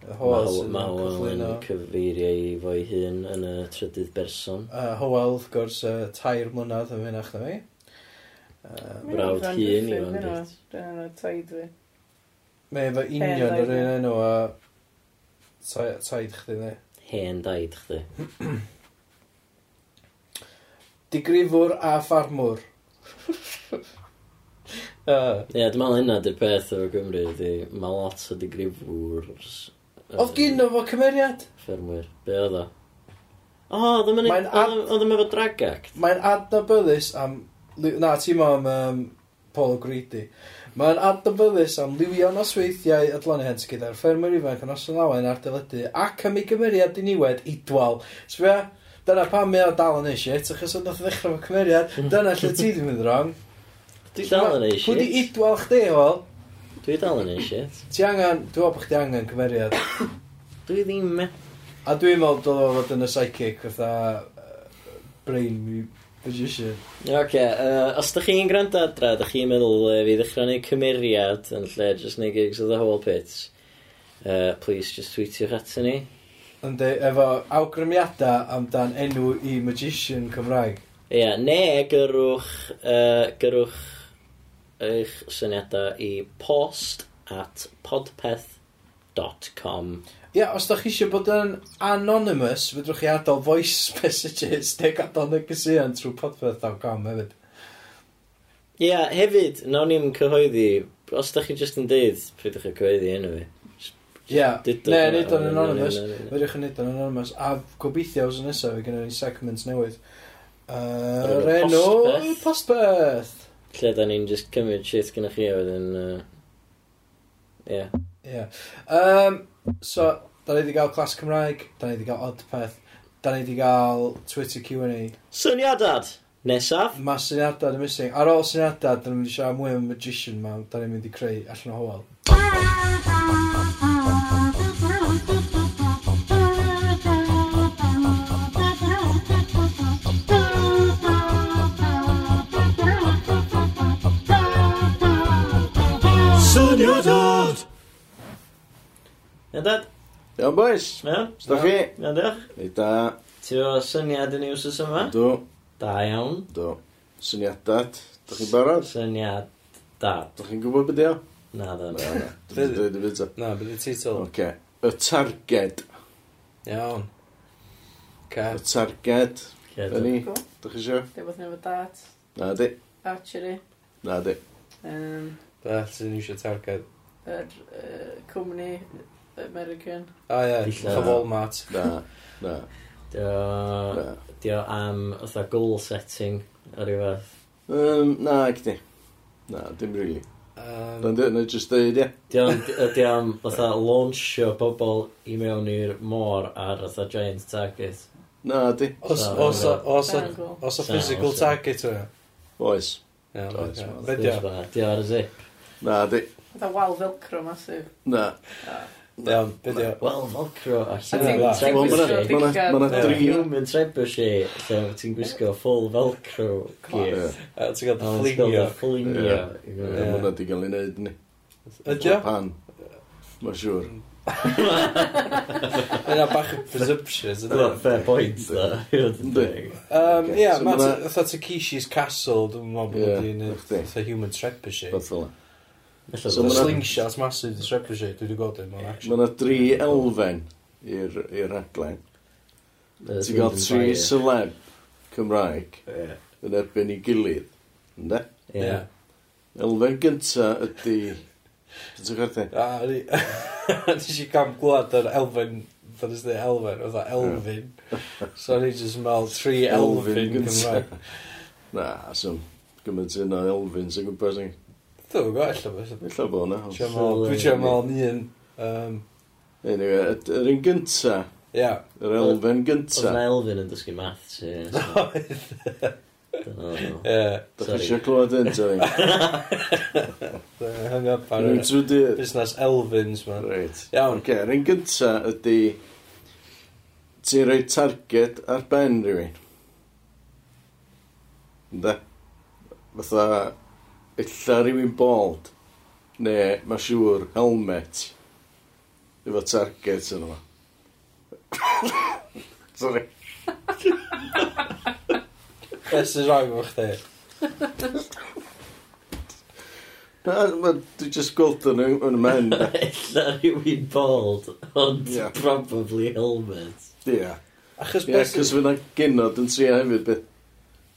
Y hos
Mawl
yn
mawl yn
cyflwyno.
cyfeirio i fo'i hun yn y trydydd berson.
Yy, Hywel, wrth gwrs, yy, tair mlynedd yn fynach na mi. Yy,
Mae
Brawd hun,
Ifan
Ifan
Griffith, hynna.
Griffith.
Dyna nhw, taid fi.
Mae efo union
Hen
yr un enw a... toi- Toed chdi ni.
Hen daid chdi.
Digrifwr a ffarmwr. Yy.
Ie, dwi'n meddwl hynna dy peth o Gymru, ydi, mae lot o digrifwrs.
Oedd gyn o fo cymeriad?
Ffermwyr. Be oedd o? O, oedd o'n
Mae'n ad-
mynd efo drag act.
Mae'n adnabyddus am... li- Na, ti'n ma am um, Paul O'Grady. Mae'n adnabyddus am liwio nosweithiau adloni hens gyda'r ffermwyr ifanc yn oson lawen ar dyledu ac am ei gymeriad diniwed idwal. Sbia, dyna pam mi o dal yn ei shit, achos oedd nath o ddechrau fo cymeriad, dyna lle ti di mynd wrong.
Dwi dal yn ei
Pwy di
shit.
idwal chdi, wel?
Dwi dal yn ei shit.
Ti angen, dwi'n meddwl bod chdi angen cymeriad.
Dwi ddim me.
A dwi'n meddwl dod o fod yn y psychic, fatha yy, brain mu- magician.
Ok, uh, os da chi'n gwrando adra, da chi'n meddwl uh, fi ddechrau neu cymeriad yn lle just neu gigs o the whole pits, uh, please just tweetiwch ato ni.
Yndi, efo awgrymiadau amdan enw i magician Cymraeg.
Ie, yeah, ne gyrwch, uh, gyrwch eich syniadau i post at podpeth.com
Ia, os da chi eisiau bod yn anonymous, fedrwch chi adael voice messages neu gadael negeseuon trwy podpeth.com hefyd.
Ie, yeah, hefyd, nawn ni'n cyhoeddi, os da chi jyst yn deud, pryd ydych chi'n cyhoeddi enw fi.
Ia,
Dudwch
ne,
na-
nid o'n
na- na-
anonymous.
na- na- na-
Fedrwch chi nid o'n anonymous. A gobeithio os yn nesaf, fe gynnu ni segments newydd. Yr
Yr
enw
Postpeth.
Postpeth.
Lle da ni'n just cymryd shit gyda chi a wedyn... yy, Ie.
Ie. Um, so, da ni wedi cael clas Cymraeg, da ni wedi cael Odpeth, da ni wedi cael Twitter Q&A.
Syniadad! Nesaf?
Mae syniadau yn y missing. Ar ôl syniadau, da ni'n mynd i siarad mwy am Magician ma, da ni'n mynd i creu allan o hwel.
Syniadad?
Iawn, boys.
Iawn?
Sda chi?
Iawn, diolch.
Neida.
Ti o syniad yn i wsos yma?
Do.
Da iawn.
Do. Syniadad. Da chi'n barod?
Syniad da.
Da chi'n gwybod beth yw?
Na da.
Na, na. Dwi'n dweud y byd o.
Na, bydd y teitl.
Oce. Y targed.
Iawn.
Y
Cat.
targed. Da ni.
Cool.
Da chi eisiau?
Dwi'n bod yn efo dat,
Na di.
archery,
Na di.
um,
Da, sy'n ni eisiau targed.
yr uh, cwmni American.
O ie,
Dillad.
Walmart.
Na. Na.
Dio...
Na.
Dio am, otha, goal setting. O ryw fath.
Um, na, gdi. Na, dim rili.
Um,
Dwi'n dweud, na jyst dweud, ie.
Dio am, dio am, otha, launchio bobl i mewn i'r môr ar, otha, giant target.
Na, di.
Os,
Na,
os,
na.
os,
Na'n cool.
os o
Na,
physical
os-
target o'n.
Oes.
Iawn,
Oes,
ocê.
wel,
Be' di o?
Dio ar y zip.
Na, di.
Fytha wal velcro masif.
Na.
Iawn, be' di o?
Wel, Velcro, a
A ti'n-
human
ti'n gwisgo
trebuchet.
big gun.
Mae'n
Ie.
dri.
Human trebuchet, lle ti'n gwisgo full Velcro gear.
Ie.
A Ti'n
A
gael
mae'n sgol
fflingio.
dy fflingio.
Ie,
Ie.
Mae hwnna di gael ei wneud ni.
Ydi o?
Pan. Mae'n siŵr.
Yna bach o presumptions. ydi o?
Wel, Fair point, da.
Yndi.
Um,
Ocê,
Ie,
so
mae
ma' 'na-
fatha Takeshi's Castle, dwi'n meddwl bod
Ie,
wedi gwneud
chdi.
fatha human trebuchet.
Beth fel yna. So
So
ma'
mae
na-
slingshot massive di trebuchet, dwi wedi gweld yn mewn
Mae
action.
yna dri elfen i'r i'r raglen. Ti'n gael tri celeb Cymraeg yn erbyn i gilydd. Ynde?
Ie.
Ie.
Elfen gynta ydy... Ti'n gwerthu?
A ni... Nes i gam gwlad yr elfen, fan ysdi elfen, oedd elfen. So ni jyst yn meddwl tri elfen
Elfen gynta.
Gymraeg.
Na, aswm. Gymaint un o elfen sy'n gwybod sy'n...
Dwi'n gwybod, allan beth.
Illa bo na.
Dwi'n meddwl, dwi'n siarad meddwl ni yn... yym,
Anyway, y- yr un gynta,
Ie.
yr elfen
Oedd na
gynta.
Elfyn yn dysgu maths, ie. so- Dyna fo.
Ie.
Da chi
Sorry.
eisiau clywed hyn, ta ni?
yy, Hung up ar
Rwy'n
y
trwy dyr.
busnes elfens, man.
Reit.
Iawn.
Ok, yr un gynta ydy... Ti'n rhoi targed ar ben rhywun. Ynda? Fatha, illa rhywun bald. Ne, mae siŵr, helmet. Efo target yn yma. Sorry.
Beth sy'n rhaid efo chdi?
Dwi'n just gweld yn yn y men. de.
Ella rhywun bald, ond
Ie.
probably helmet.
Ie.
Achos
Ie,
beth
cos
sy'n...
fydd na'n gynnod yn trio hefyd beth.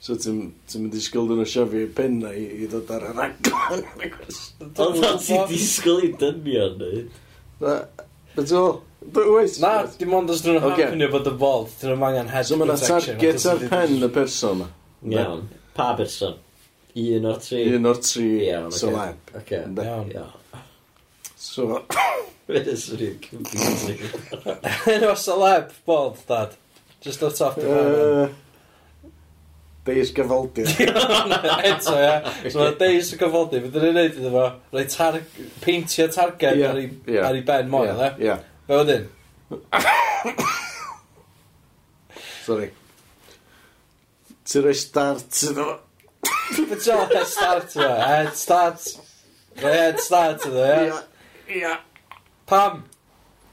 So ti'n ti'n mynd i sgwyl dyn nhw siafu penna i, i ddod ar yr aglan.
Ond o ti'n disgwyl i dynion nid?
Na, beth o? Wait.
Na, dim ond os dyn nhw'n
Ocê.
happenio bod yn bald, dyn nhw'n angen head
So mae'n
protection.
target ar
Achos
pen y person.
Iawn. Pa berson? Un o'r tri?
Un o'r tri
Iawn, oce.
celeb.
Oce.
Ynde?
Iawn.
Iawn.
So,
Beth ysyn i'n confusing.
Enw celeb bald, dad. Just off top the pen.
yy, Deis gyfaldir.
Eto, ia. So mae deis y gyfodi, fydd yn ei wneud iddo fo, rhoi tar... peintio targed
Ie,
ar ei-
ie.
ar ei ben moel, e?
Ie, Ie,
Be wedyn?
sorry. Ti'n rhoi start iddo fo.
Beth sy'n head start yma? Head start. Rhoi head start yma, ia.
Ie.
Pam?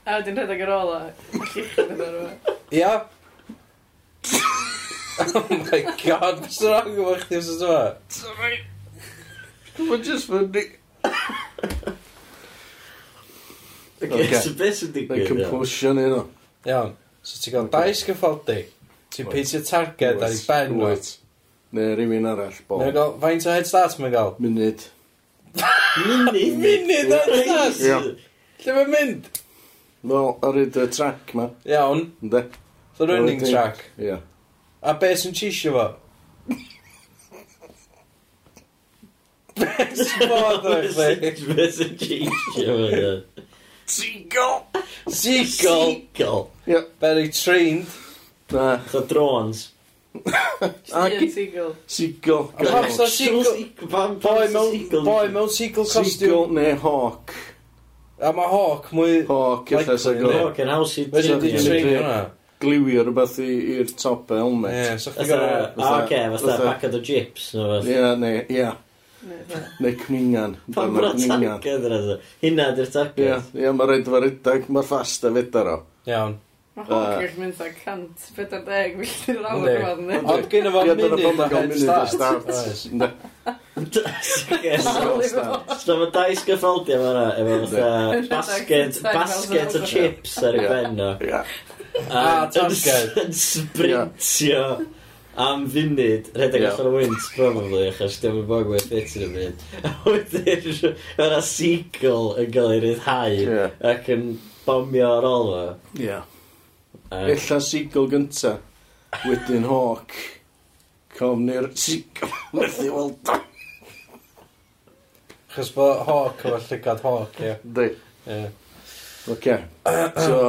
A wedyn rhedeg ar ôl o. Llichyn yn arwa.
Ia? Oh my god, beth sy'n rong efo chdi os e? yma?
Sorry. Mae'n just funny.
Oce,
Oce.
so beth sy'n
Mae'n
digwydd? iawn?
compulsion un o.
Iawn. So ti'n gael dais gyffodi, ti'n
Wyt.
peintio targed ar ei ben nhw.
Wyt. Neu rhywun arall,
Mae'n
bol.
gael, faint o head start mae'n gael?
Munud.
Munud?
Munud, that's us.
Ie.
Lle mae'n mynd?
Wel, ar hyd y track ma,
Iawn,
ynddo?
the running
Wedyn-
track.
Ie.
A be sy'n tisio fo? Be sy'n bod o'r chdi?
Beth sy'n
Oh
change o'n hynny?
Seagull!
Seagull.
Seagull.
Ie.
Very trained.
Na,
So drones.
Ac-
Ian Seagull.
seagull.
A pam sa seagull...
Pam
Boi
pam sy'n
mewn,
seagull?
boi mewn seagull
Seagull
costume.
neu hawk.
A mae hawk mwy...
Hawk, eitha
Likely,
sa
ie.
gael.
Fucking house i
Fe sy'n di
Ie.
train
Ie.
hwnna.
Gliwio rhywbeth i- i'r top y
Ie,
helmet.
so chdi
Fatha,
gorau...
ah, oce, fatha
fatha-
bacad o gyps neu fath.
Ie, neu, ie.
Neu fatha.
Neu cningan.
Pam
Dyma
bod o'n targed yn yna? Hynna di'r
Ie,
targed.
ie, mae rhaid fo rydag, mae'r ffast a e fedar o.
Iawn.
Mae Hawkers mynd â 140 milltir yr awr
Yndi.
yma, ynddi?
Ond gyn efo
Ie, dyna pam
munud o
ma' gael
head
munud o
start.
start.
Oes.
Ynde?
Ie.
Start, start.
So mae dau sgyffaldi am hwnna, efo fatha
Yndi.
basket, basket o chips ar ei
Ie.
ben o.
Ie.
Ah,
A yn
targed.
yn sprintio am funud, rhedeg
Ie.
allan o wynt, probably, achos dim yn bog wedi fit yn y byd. A wedyn, yna seagull yn cael ei ryddhau
Ie.
ac yn bomio ar ôl fo.
Ie.
Ac-
Ella seagull gynta, wedyn hawk. Com ni'r seagull, methu weld o.
Chos bod hawk efo llygad hawk, ie.
Ynddi.
Ie.
Oce. So,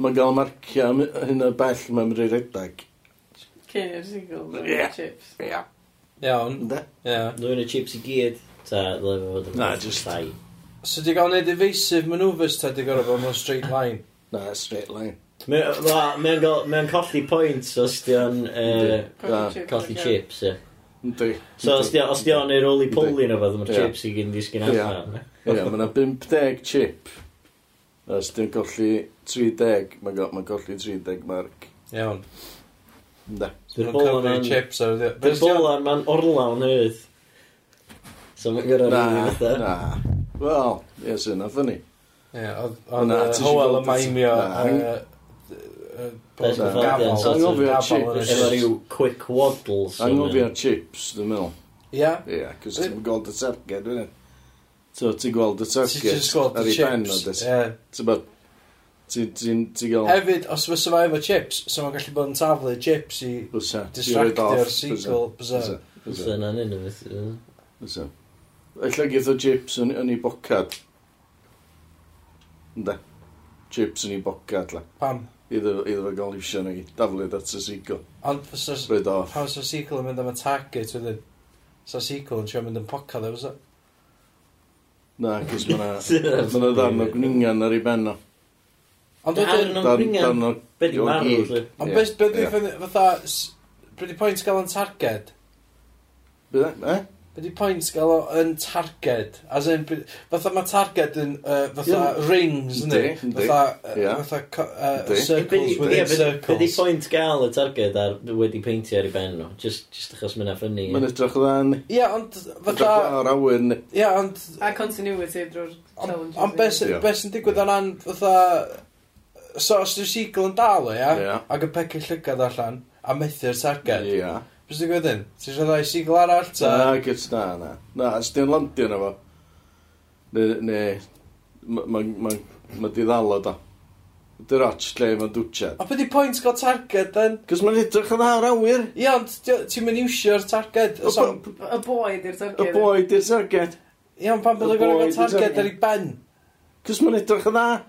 mae'n gael marcio am hyn o bell mae'n rhaid rydag.
Cyn i'r Seagull. neu
Ie.
Chips.
Ie.
Iawn.
Ynde?
Ie.
Dwi'n y chips i gyd. Ta, ddylai fo fod yn
Na, jyst-
llai.
So di gael neud evasive manoeuvres ta di gorau bod mewn straight line.
Na, straight line.
Mae- wel, Mae'n go- mae'n colli pwynt os di o'n yy,
Da,
chips.
colli
ocê.
chips. ie.
Ynddi.
So os di o- os di o'n ei roli
Yndi.
poli neu beth, mae'r
Ie.
chips i gyd yn disgyn
Ie.
allan.
Ie, mae yna 50 chip. Os dwi'n golli 30, mae'n go, ma golli 30 marc.
Iawn.
Ynde.
Dwi'n
Dwi'n
bol
cyfri
yna'n...
chips ar y...
Dwi'n bol yna'n man orlawn hyd. So mae'n gyrra
Na,
rhywun fatha.
na. Wel, ie, sy'n na ffynnu.
Ie, oedd-
Na,
oedd
ti isio
Howell
gweld
yn maimio
y- na.
ar y...
Best of all dance,
Anghofio
Gafel
chips.
Efo rhyw quick waddles.
Angofio chips, dwi'n meddwl.
Ia?
Ie, cos ti'n gweld y targed, dwi'n So, ti'n gweld y
Ti'n just gweld
targed ar
y
ei ben o
chips.
dys.
Ie.
Ti'n bod, ti'n ti'n- ti'n gael...
Hefyd, os fysa fo efo chips, so mae'n gallu bod yn taflu chips i
Fysa.
distractio'r seagull. Bysa.
Fysa.
So
Fysa.
yna'n un o beth. yy.
Fysa. Alla gyda chips yn, yn ei bocad. Ynda. Chips yn ei bocad, la.
Pam?
Iddo, iddo fe gael iwsio nhw i daflid at y seagull.
Ond fysa...
Rhaid off.
Pam sa'r seagull yn mynd am y target wedyn? Sa'r seagull yn trio mynd yn poca dde, fysa?
Na, cos mae'na... Mae'na ddarn o gwningan ar ei ben o.
Ond wedyn...
Darn o
Darn
gwningen.
darn o...
Be di
o
marw,
gig.
lly?
Ond
Ie,
beth beth
ie.
dwi'n ffynnu, fatha, s- be di pwynt gael yn targed?
Bydde? Eh?
Be di pwynt gael o yn targed? As in, be- fatha mae targed yn, uh, fatha
Ie.
rings, ynddi?
Yndi, yndi.
Fatha, uh,
Ie.
fatha co- uh,
Yndi.
circles within
Byddi
circles.
pwynt gael y targed ar wedi peintio ar ei ben nhw. Just, just achos mae'n ffynnu.
Mae'n edrych ddan.
Ie, ond,
Edrych
fatha,
o'r awyr. ni.
ie, ond,
A continuity drwy'r challenges.
ond beth sy-
Ie.
beth sy'n digwydd o ran, fatha, so os dwi'n sigl yn dal o, ia,
Ie.
ac yn pegu llygad allan, a methu'r targed,
Ie.
beth sy'n digwydd yn? Ti'n rhaid i sigl arall, ta?
Na, gyda na, na. Na, as di'n landio na fo. Ne, ne, mae di ddalo da. Dy roch lle mae'n dwtsiad.
A beth di pwynt gael targed, then?
Cos mae'n edrych yn ar awyr.
Ie, ond dio- ti'n mynd iwsio'r targed.
Y
so-
bo-
Y boi di'r
y
targed.
boi di'r targed.
Ie, ond pan bod
Y
yn gorau
boi
gael
di
targed
targed.
ar ei ben.
Cos mae'n edrych yn ar.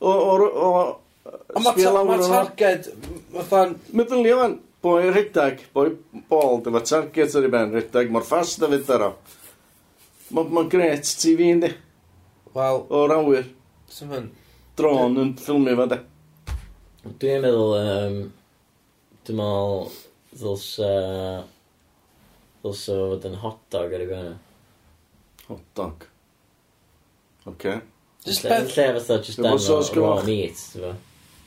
O, o, o,
Ond
o,
mae
sbio
ta-
lawr
mae
yna.
targed, fatha'n...
Meddylio fan, boi rhedag, boi bol, dyma target ar ei ben, rhedag mor ffas na fydd ar o. Mae'n ma gret TV yndi,
Wel,
o'r awyr.
sy'n fy'n...
Dron yn ffilmio fan de.
Dwi'n meddwl, um, dwi'n meddwl, ddylsa, ddylsa fo fod yn hot dog ar y gwana.
Hot dog. Oce.
Just
Lle
beth...
lle fatha, just
Efo
dan
sos
o raw
goch.
meat, ti'n fo.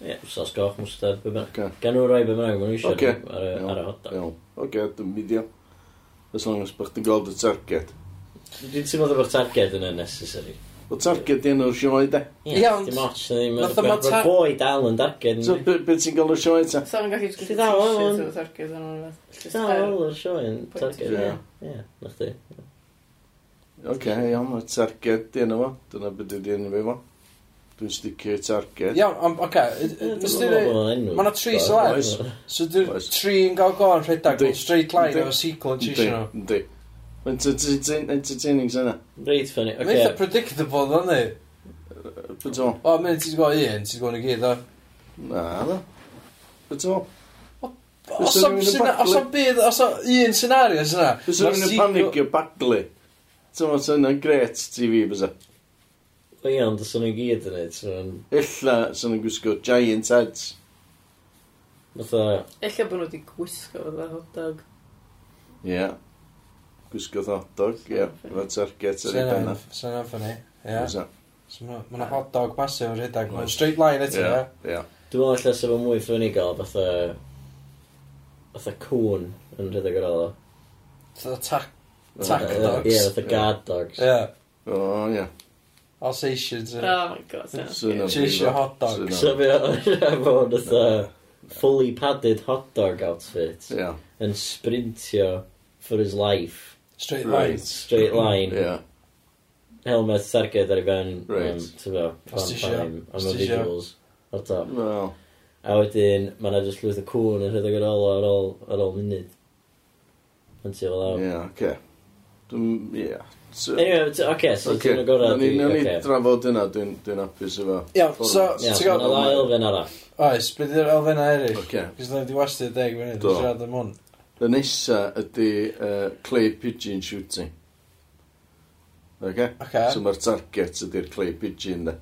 Ie, sos goch, mwstad, be bynnag.
Oce.
Gan nhw roi be bynnag, maen nhw eisiau
Oce.
ar y- ar y hot dog.
Iawn. Oce, dwi'n midio. As long as bych ti'n gweld y target.
Dwi'n teimlo bod efo'r targed yn unnecessary.
O target di enw'r sioe de.
Ie,
Ie, ond-
dim ots, na ddim.
Fatha ma' tar-
Mae'r boi dal yn darged.
So, beth be ti'n gael y sioe ta?
So nhw'n gallu just
Lle
gallu
dal o,
t-shirt
hwn?
o'r targed yn o'n fath.
Dal o'r sioe yn targed. Ie,
Ie.
ie, na chdi.
Oce, iawn, y target di enw fo. Dyna beth di enw fo. Dwi'n sticio i target.
Iawn, ond, oce. Mae ma' 'na tri celebs. So dwi'n
Oes.
tri'n gael go'n rhedeg,
Yndi.
straight line
Yndi.
efo sequel yn
Yndi,
tisio nhw.
yndi. Mae'n entertain- entertaining syna.
Reit ffynnu.
Mae'n eitha predictable, dda ni.
Beth o?
O, mynd ti'n gwybod un, ti'n gwybod i gyd, o.
Na, da. Beth o?
Os
Fysa
o'm
rhywun yn
syna- os o'm byd, os o un senario syna.
Bys rhywun yn panicio baglu. Tyma, sy'n yna gret TV, bys o.
O ie, ond os o'n nhw gyd yn neud, so yn...
Illa, sy'n yna gwisgo giant heads.
Fatha...
Ella bod nhw wedi gwisgo fatha hot dog.
Ie. Gwisgo hot dog, ie. Efo target ar ei benna.
Syna'n ffynnu. Ie.
Bys o.
So ma' 'na- ma' 'na hot dog masif yn rhedeg. Mae'n
Oes.
straight line eto,
Ie,
ie.
ie.
Dwi'n meddwl allas efo mwy ffynnu gael, fatha... Fatha cwn yn rhedeg ar ôl. o.
Fatha tac...
Tac
Tac
Yy,
dogs.
Ie,
Ie.
fatha guard dogs.
O, ie.
Alsatians. ie.
Oh my god,
Sy'n
yeah.
yna
Ti isio
brifo.
hot dog?
Sy'n yna-
So fe o'n fatha... Fully padded hot dog outfit.
Ie.
Yn sprintio for his life.
Straight
Right.
lines.
Straight line.
Ie.
Helmet targed ar ei ben.
Right.
yym, ti'n fawr,
Os ti isio.
pan
Os ti
time. Am y
isio.
visuals. O top.
Wel,
A wedyn, mae yna just lwyth o cwn yn rhedeg ar ôl o ar ôl, ar ôl munud. Yn ti fel awr.
ie, oce. Dwi'n, ie. So-
Anyway, t- oce, okay, so
Oce,
ti'n agorau
nawn
di...
ni- nawn ni
Ie,
drafod yna, dwi'n dwi'n hapus efo.
Iawn, so,
Ie,
ti'n
mae yna
gwybod?
ma'
ddau elfen arall.
Oes, beth yw'r elfenna eraill?
Oce.
Cos na wedi wastio deg fyny,
Do.
dwi'n siarad am hwn.
Y nesa ydy uh, clay pigeon shooting. Okay?
Oce.
So mae'r target ydy'r clay pigeon da.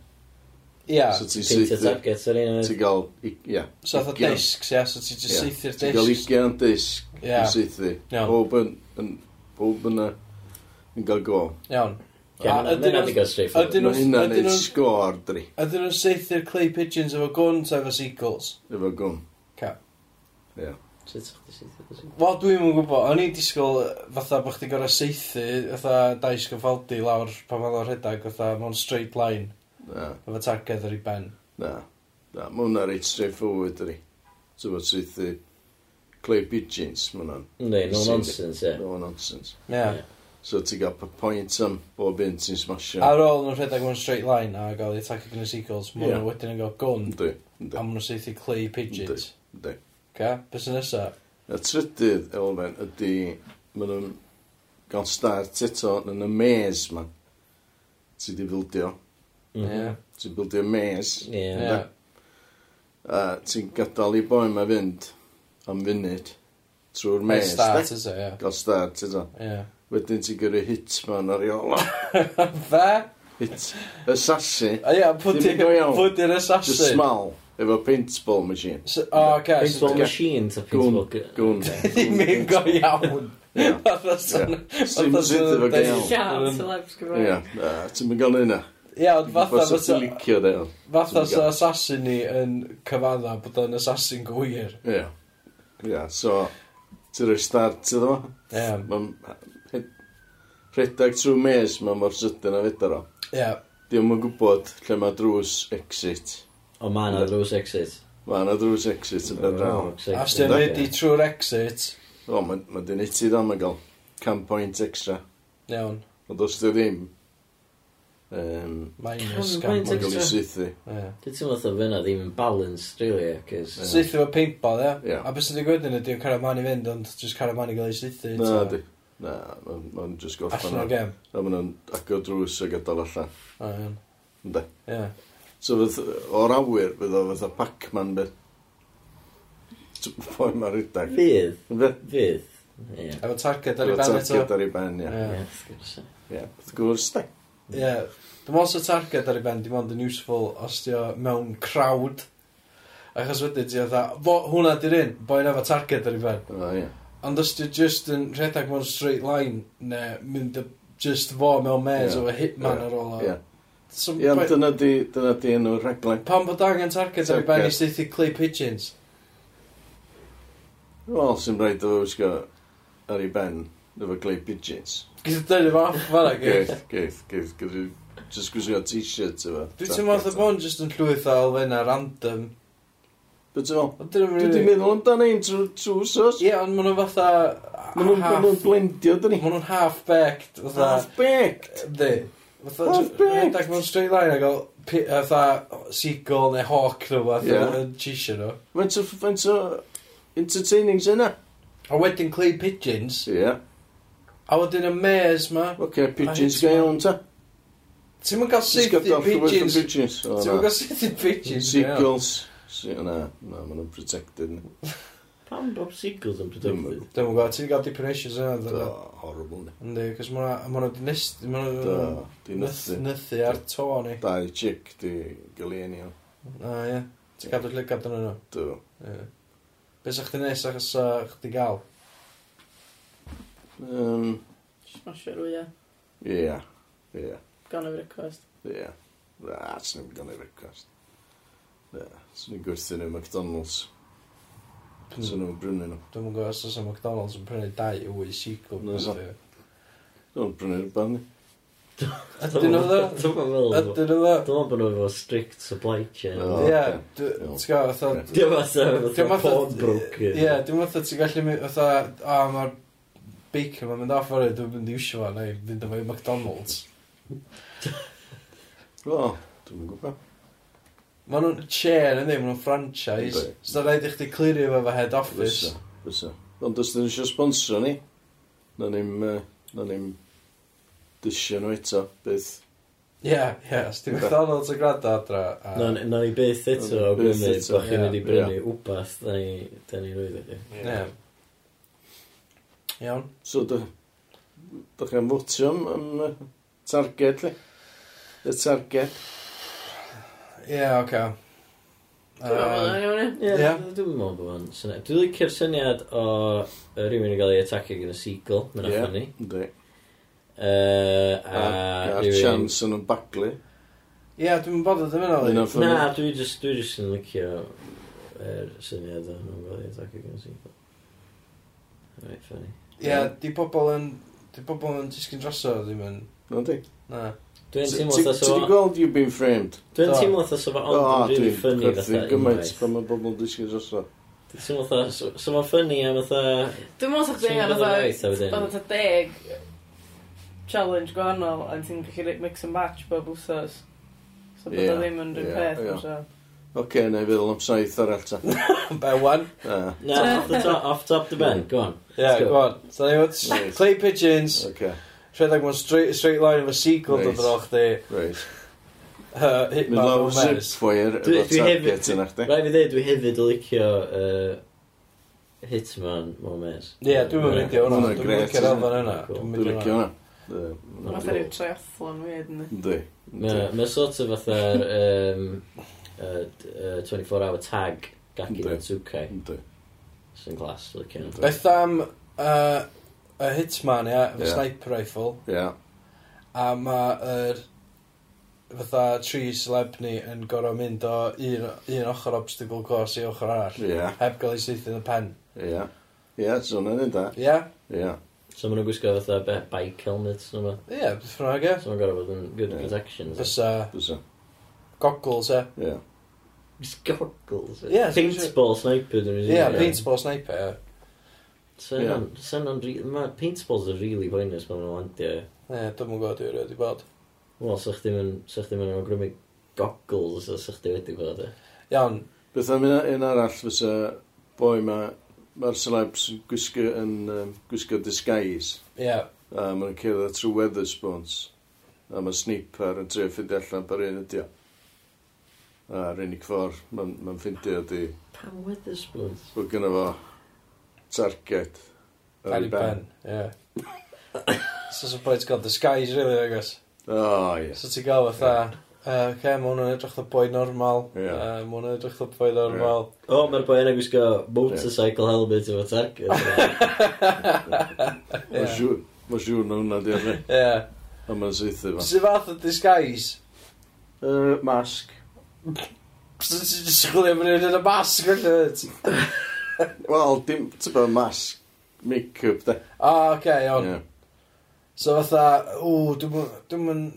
Ia,
So ti'n
Peter
seithi...
Target, ar un
Ti'n gael... i- Ia.
so oedd o
ugian.
discs, ia, so ti'n
Ie.
just seithio'r
Ti'n gael
discs.
ugian disg.
Ie.
Ti'n seithi.
Iawn.
Pob yn... yn- Pob yn... y- Yn gael go.
Iawn.
Ie,
A
mae
ydyn
yna
nhw-
di gael straight
Ydyn
forward.
nhw-
Mae hynna
ydyn
neud
nhw-
sgor dri.
Ydyn nhw'n seithio'r clay pigeons efo gwn ta efo seagulls?
Efo gwm.
Ca.
Ie.
Sut o'ch di syth o syth?
Wel, dwi'n mwyn gwybod, o'n i disgwyl yy, fatha bod chdi gorau seithi, fatha dais gyffaldi lawr pan oedd o'r rhedeg, fatha mewn straight line,
Na.
efo targed ar ei ben.
Na. Na. Mae hwnna reit straight forward dri. So mae'n seithi... Clay pigeons, mae hwnna'n...
Yndi, no nonsense, ie.
No nonsense.
Ia.
Ie.
So ti'n gael p- point am bob un ti'n smasho.
Ar ôl nhw'n rhedeg mewn straight line a gael eu atacio gan y seagulls, mae
Ie.
nhw wedyn yn cael gwn
Ynddi, ynddi,
a maen nhw'n seithi clay pigeons.
ynddi.
Ca? Bys yn nesa?
Y trydydd elfen ydy, maen nhw'n gael start eto yn y mes ma. Ti di bildio,
Ie.
Mhm.
ti bildio mes,
Ie.
Ie.
a ti'n gadael i boi ma fynd am funud trwy'r
Mae
mes.
start
de?
eto, ie.
Gael start eto.
e? Ie.
Wedyn ti'n gyrru hit ma'n ariola.
Fe?
Hit. Assassin.
A ie,
Ddim yn go iawn.
pwydyn
Just
assassin.
small. Efo paintball machine.
S- O, ca.
Paintball
Ie.
machine, ta
Gwn.
paintball...
Gwn.
Ddim yn go iawn. Fatha son-
Sim
fatha son
sydd efo
yn deud-
gael.
Siarad,
Yym,
celebs
Ia,
Gymraeg.
na, ti'n mynd gael hynna.
Ia, ond fatha
Fatha
fysa...
ti'n licio da.
Fatha
Ti'n
sa
gael.
assassin ni yn cyfadda bod o'n assassin gwir.
Ia. Ia, so, ti'n rhoi start iddo fo.
Ie.
Mae'n rhedeg trwy mes, mae mor sydyn a fedar o.
Ie.
Diolch yn gwybod lle mae drws exit.
O, ma na drws exit.
Mae yna drws exit yn
O,
ben rawn.
exit.
A os ti'n
Ie.
wedi trwy'r exit,
O, mae'n dyn i ti dda, mae'n gael cam point extra.
iawn,
Ond os di o ddim, um,
minus gan
Cam point
mae'n
pwynt.
gael
Extra.
ei seithi.
Ie.
Dwi'n teimlo fatha fyna ddim yn balance, really, cys...
Seithi fo paintball, ie?
Ie.
A beth sy'n digwydd yn ydy o caraman i fynd, ond jyst caraman i gael ei seithi.
Na, di. Na, mae'n just gorffan.
Allan o'r gem.
A maen nhw'n agor drws a gadael allan.
O, iawn.
Ynddi.
Ie.
So fydd, o'r awyr, fydd o fatha Pac-Man beth. Pwy mae'r rydag.
Fydd.
Ynddi.
Fydd. Ie.
Efo targed ar
Efo
ei ben eto.
targed ar ei ben, ia.
Ie.
Ie, wrth gwrs.
Ie, wrth gwrs, de.
Ie. Dwi'n meddwl sy'n targed ar ei ben, dim ond yn useful os di o mewn crowd. Achos wedyn ti fatha, fo, hwnna di'r un, boi'n efo targed ar ei ben.
O, ie.
Ond os di just yn rhedeg mewn straight line, ne, mynd y, just fo mewn mes
Ie.
yeah. o hitman
Ie.
ar ôl o.
Ie,
So,
Ie, ond
pa-
dyna di, dyna di enw'r rhaglen.
Pan bod angen targed ar ei ben i
Targed.
steithi clay pigeons?
Wel, sy'n rhaid o wisgo ar ei ben, efo clay pigeons.
Gyda dynnu fo off fan ag. e.
Geith, geith, geith, geith, just gwisgo t-shirt efo.
Dwi'n teimlo oedd y bon just yn llwyth o elfenna random.
Dwi'n teimlo.
Ond dyn nhw'n
Dwi di
rili-
meddwl amdano ein trws os.
Ie, ond maen nhw fatha...
Maen nhw'n- maen nhw'n
half-
blendio, dyn ni.
Maen nhw'n half-backed. Fatha...
Half-baked.
Di. Fatha...
Half-baked.
Rhedeg mewn straight line ag o... pi- Fatha seagull neu hawk nhw fatha
Ie.
yn tisio nhw.
Faint o, faint o entertaining sy'n yna?
A wedyn clay pigeons.
Ie.
A wedyn y maze ma.
Oce, pigeons
Faint
gael
ma-
iawn ta.
Ti'n mynd cael
Jyst
safety
gadal llwyth o
pigeons.
Pigeons.
Ti'n
O,
mynd
na.
cael safety pigeons. iawn.
Seagulls. Se- Na, na, maen nhw'n protected.
Pam bob seagulls yn productive?
Dwi'm yn gwybod, ti'n cael deep issues yna.
Da,
ddod o.
horrible ni.
Yndi, cos maen nhw wedi nest... Maen
Da,
nhw
di
wedi
nythu.
nythu ar to ni.
Dau chick, di gylen iawn.
A ie. Ti'n gadw llygad yn nhw.
Do.
Ie. Be sa chdi nes achos sa chdi gael?
Um,
Smasher wyau.
Ie, ie,
Gan o'r request.
ie. Na, swn i'n gynnu request. Na, swn i'n gwerthu nhw McDonald's. Swn nhw'n brynu nhw.
Dwi'n yn gwybod os oes o McDonald's yn prynu dau wy seagull.
Na, so.
Ydyn
Dwi'n brynu'r ban ni.
nhw dda?
Dwi'n meddwl...
Ydyn nhw dda?
Dwi'n meddwl bod nhw efo strict supply chain.
O,
Ie,
ocê.
dw-
Iawn.
ti'n gwybod, fatha...
Ie.
Oh. Dwi'n
Dwi'n meddwl fatha
meddwl-
pawn broker.
Ie, dwi'n meddwl ti'n gallu mynd, fatha, o, mae'r bacon ma'n mynd off ar y, dwi'n mynd i iwsio fo, neu fynd efo i McDonald's.
Wel, dwi'n gwybod.
Maen nhw'n chair, ynddi, maen nhw'n franchise.
Yndi.
So rhaid i chdi clirio fo fo head office.
Fysa, fysa. Ond os dyn eisiau sponsor ni, na ni'n, yy, na ni'n dysio nhw eto, byth.
Ie, ie, os ti'n
Yndi.
McDonald's y grada adra. a-
Na na ni beth eto o
Byth
gwmni,
eto,
bod chi'n
ie,
mynd i brynu wbath, da ni, da ni rwydd ydy.
Ie. Iawn.
So, dy... Dych chi'n fwtio am, am yy, targed, li. Y targed.
Ie, oce. Yy,
Ie.
Ie.
Dwi'n meddwl bod o'n syniad. Dwi'n licio'r syniad o yy, rhywun yn cael ei atacio gyda seagull, mae'n yeah. ffynnu.
Ynddi.
Uh, a
A'r
rhywun...
chance yn nhw'n baglu.
Ie, dwi'n bothered yn
Un
fyna.
o'r ffynnu.
Na, dwi just, dwi just yn licio yr syniad o nhw'n gael ei atacio gyda seagull. Reit, ffynnu.
Ie, di pobl yn... Di pobl yn disgyn drosodd, ddim yn...
Ynddi.
Na.
Dwi'n
Ti
teimlo fatha
ti- ti
so...
di gweld you being framed?
Dwi'n
Do.
teimlo fatha so fa ond
O,
yn really
dwi'n
ffynnu
chwerthin
fatha
gymaint
unwaith.
pan mae bobl yn dysgu drosodd.
Dwi'n teimlo fatha... So so ma'n ffynnu am fatha...
Dwi'n meddwl sa'ch
Swn i'n
deg ar
meddwl unwaith a wedyn-
oedd oedd deg challenge gwahanol a ti'n gallu rei- mix and match bob wsos. So bod
Ie,
o ddim yn rhyw
ie,
peth.
ie.
ma' siŵr.
Oce, na i feddwl am saith arall ta.
Be, wan?
Na,
Na, off the top, off top the bend, go on.
Ie,
go.
go on. So, ni fod...
Reit.
Clay pigeons,
Oce,
rhedeg mewn straight, straight line efo seagull
Reit.
dod o'r chdi.
reit.
uh, Hit
Mynd
man
lawr
o'n
zip
mes.
fire
Dwi-
efo
dwi hefyd-
target yna chdi.
Rai fi ddeud, dwi hefyd yn licio uh, Hitman mewn mes.
Ie, dwi'n mynd
Reit.
meindio hwnna.
Hwnna'n
Dwi'n
grêt,
mynd i'r
isn't
elfen
it?
yna.
Cool.
Dwi'n
Dwi'n
mynd i'r
Mae'n
licio hwnna. Yy,
rhyw triathlon weird ni.
Yndi.
Mae ma sort of fatha'r um, uh, d- uh, 24 hour tag Gaki
Yndi.
Natsukai
Yndi.
sy'n glas, dwi'n licio.
Yndi.
Beth am... yy, y uh, hitman, ia, efo
Ie.
sniper rifle,
Ia.
a ma' yr fatha tri celeb ni yn gorfod mynd o un, un ochr obstacle course i ochr arall.
Ia.
Heb gael ei syth yn y pen.
Ia. Ia, so hwnna'n un da.
Ia? Yeah?
Ia.
So maen nhw'n gwisgo fatha be- bike helmets nhw ma.
Ie, yeah, beth ffrwna ge.
So maen gorau fod yn good
Ie.
protection. so.
Fysa
Bysa.
goggles e.
Ia.
Just goggles.
Ie,
eh?
so-
Paintball sniper.
Ie,
dwi'n
yeah,
meddwl.
paintball sniper e.
Sa'n o'n... Mae paintballs yn really pointless pan nhw'n landio. ie.
Ie, dwi'n mwyn gwybod dwi'n rhaid i bod.
Wel, sa'ch ddim yn... Sa'ch ddim yn awgrymu goggles a sa'ch ddim wedi bod e.
Iawn,
Beth am un, un arall fysa boi ma, mae'r celebs yn gwisgo, yn, um, gwisgo disguise.
ie. Yeah.
A mae'n cerdded trwy Weatherspoons. A mae sniper yn trio ffindi allan par un ydi o. A'r unig ffordd mae'n ma ffindi ydi
Pam Weatherspoons?
bod gynna fo target
Harry Penn, ie. So sy'n bwyd gael disguise, really, I guess.
O, ie.
So ti'n gael fatha, uh, okay, mae hwnna'n edrych o boi normal.
Ie.
Yeah. Uh, mae hwnna'n edrych o boi normal.
O, mae'r boi yna gwisgo motorcycle helmet efo target.
Mae'n siŵr, mae'n siŵr na hwnna di arni.
Ie.
A mae'n seithi fo.
Sy'n fath o disguise?
Uh, mask.
Sy'n just chwilio fyny yn y mask o llyd?
Wel, dim, ti'n bod mask. Make-up, da.
O, oce, iawn.
Ie.
So fatha, ww, dwi'n mwyn... Dwi'n mwyn...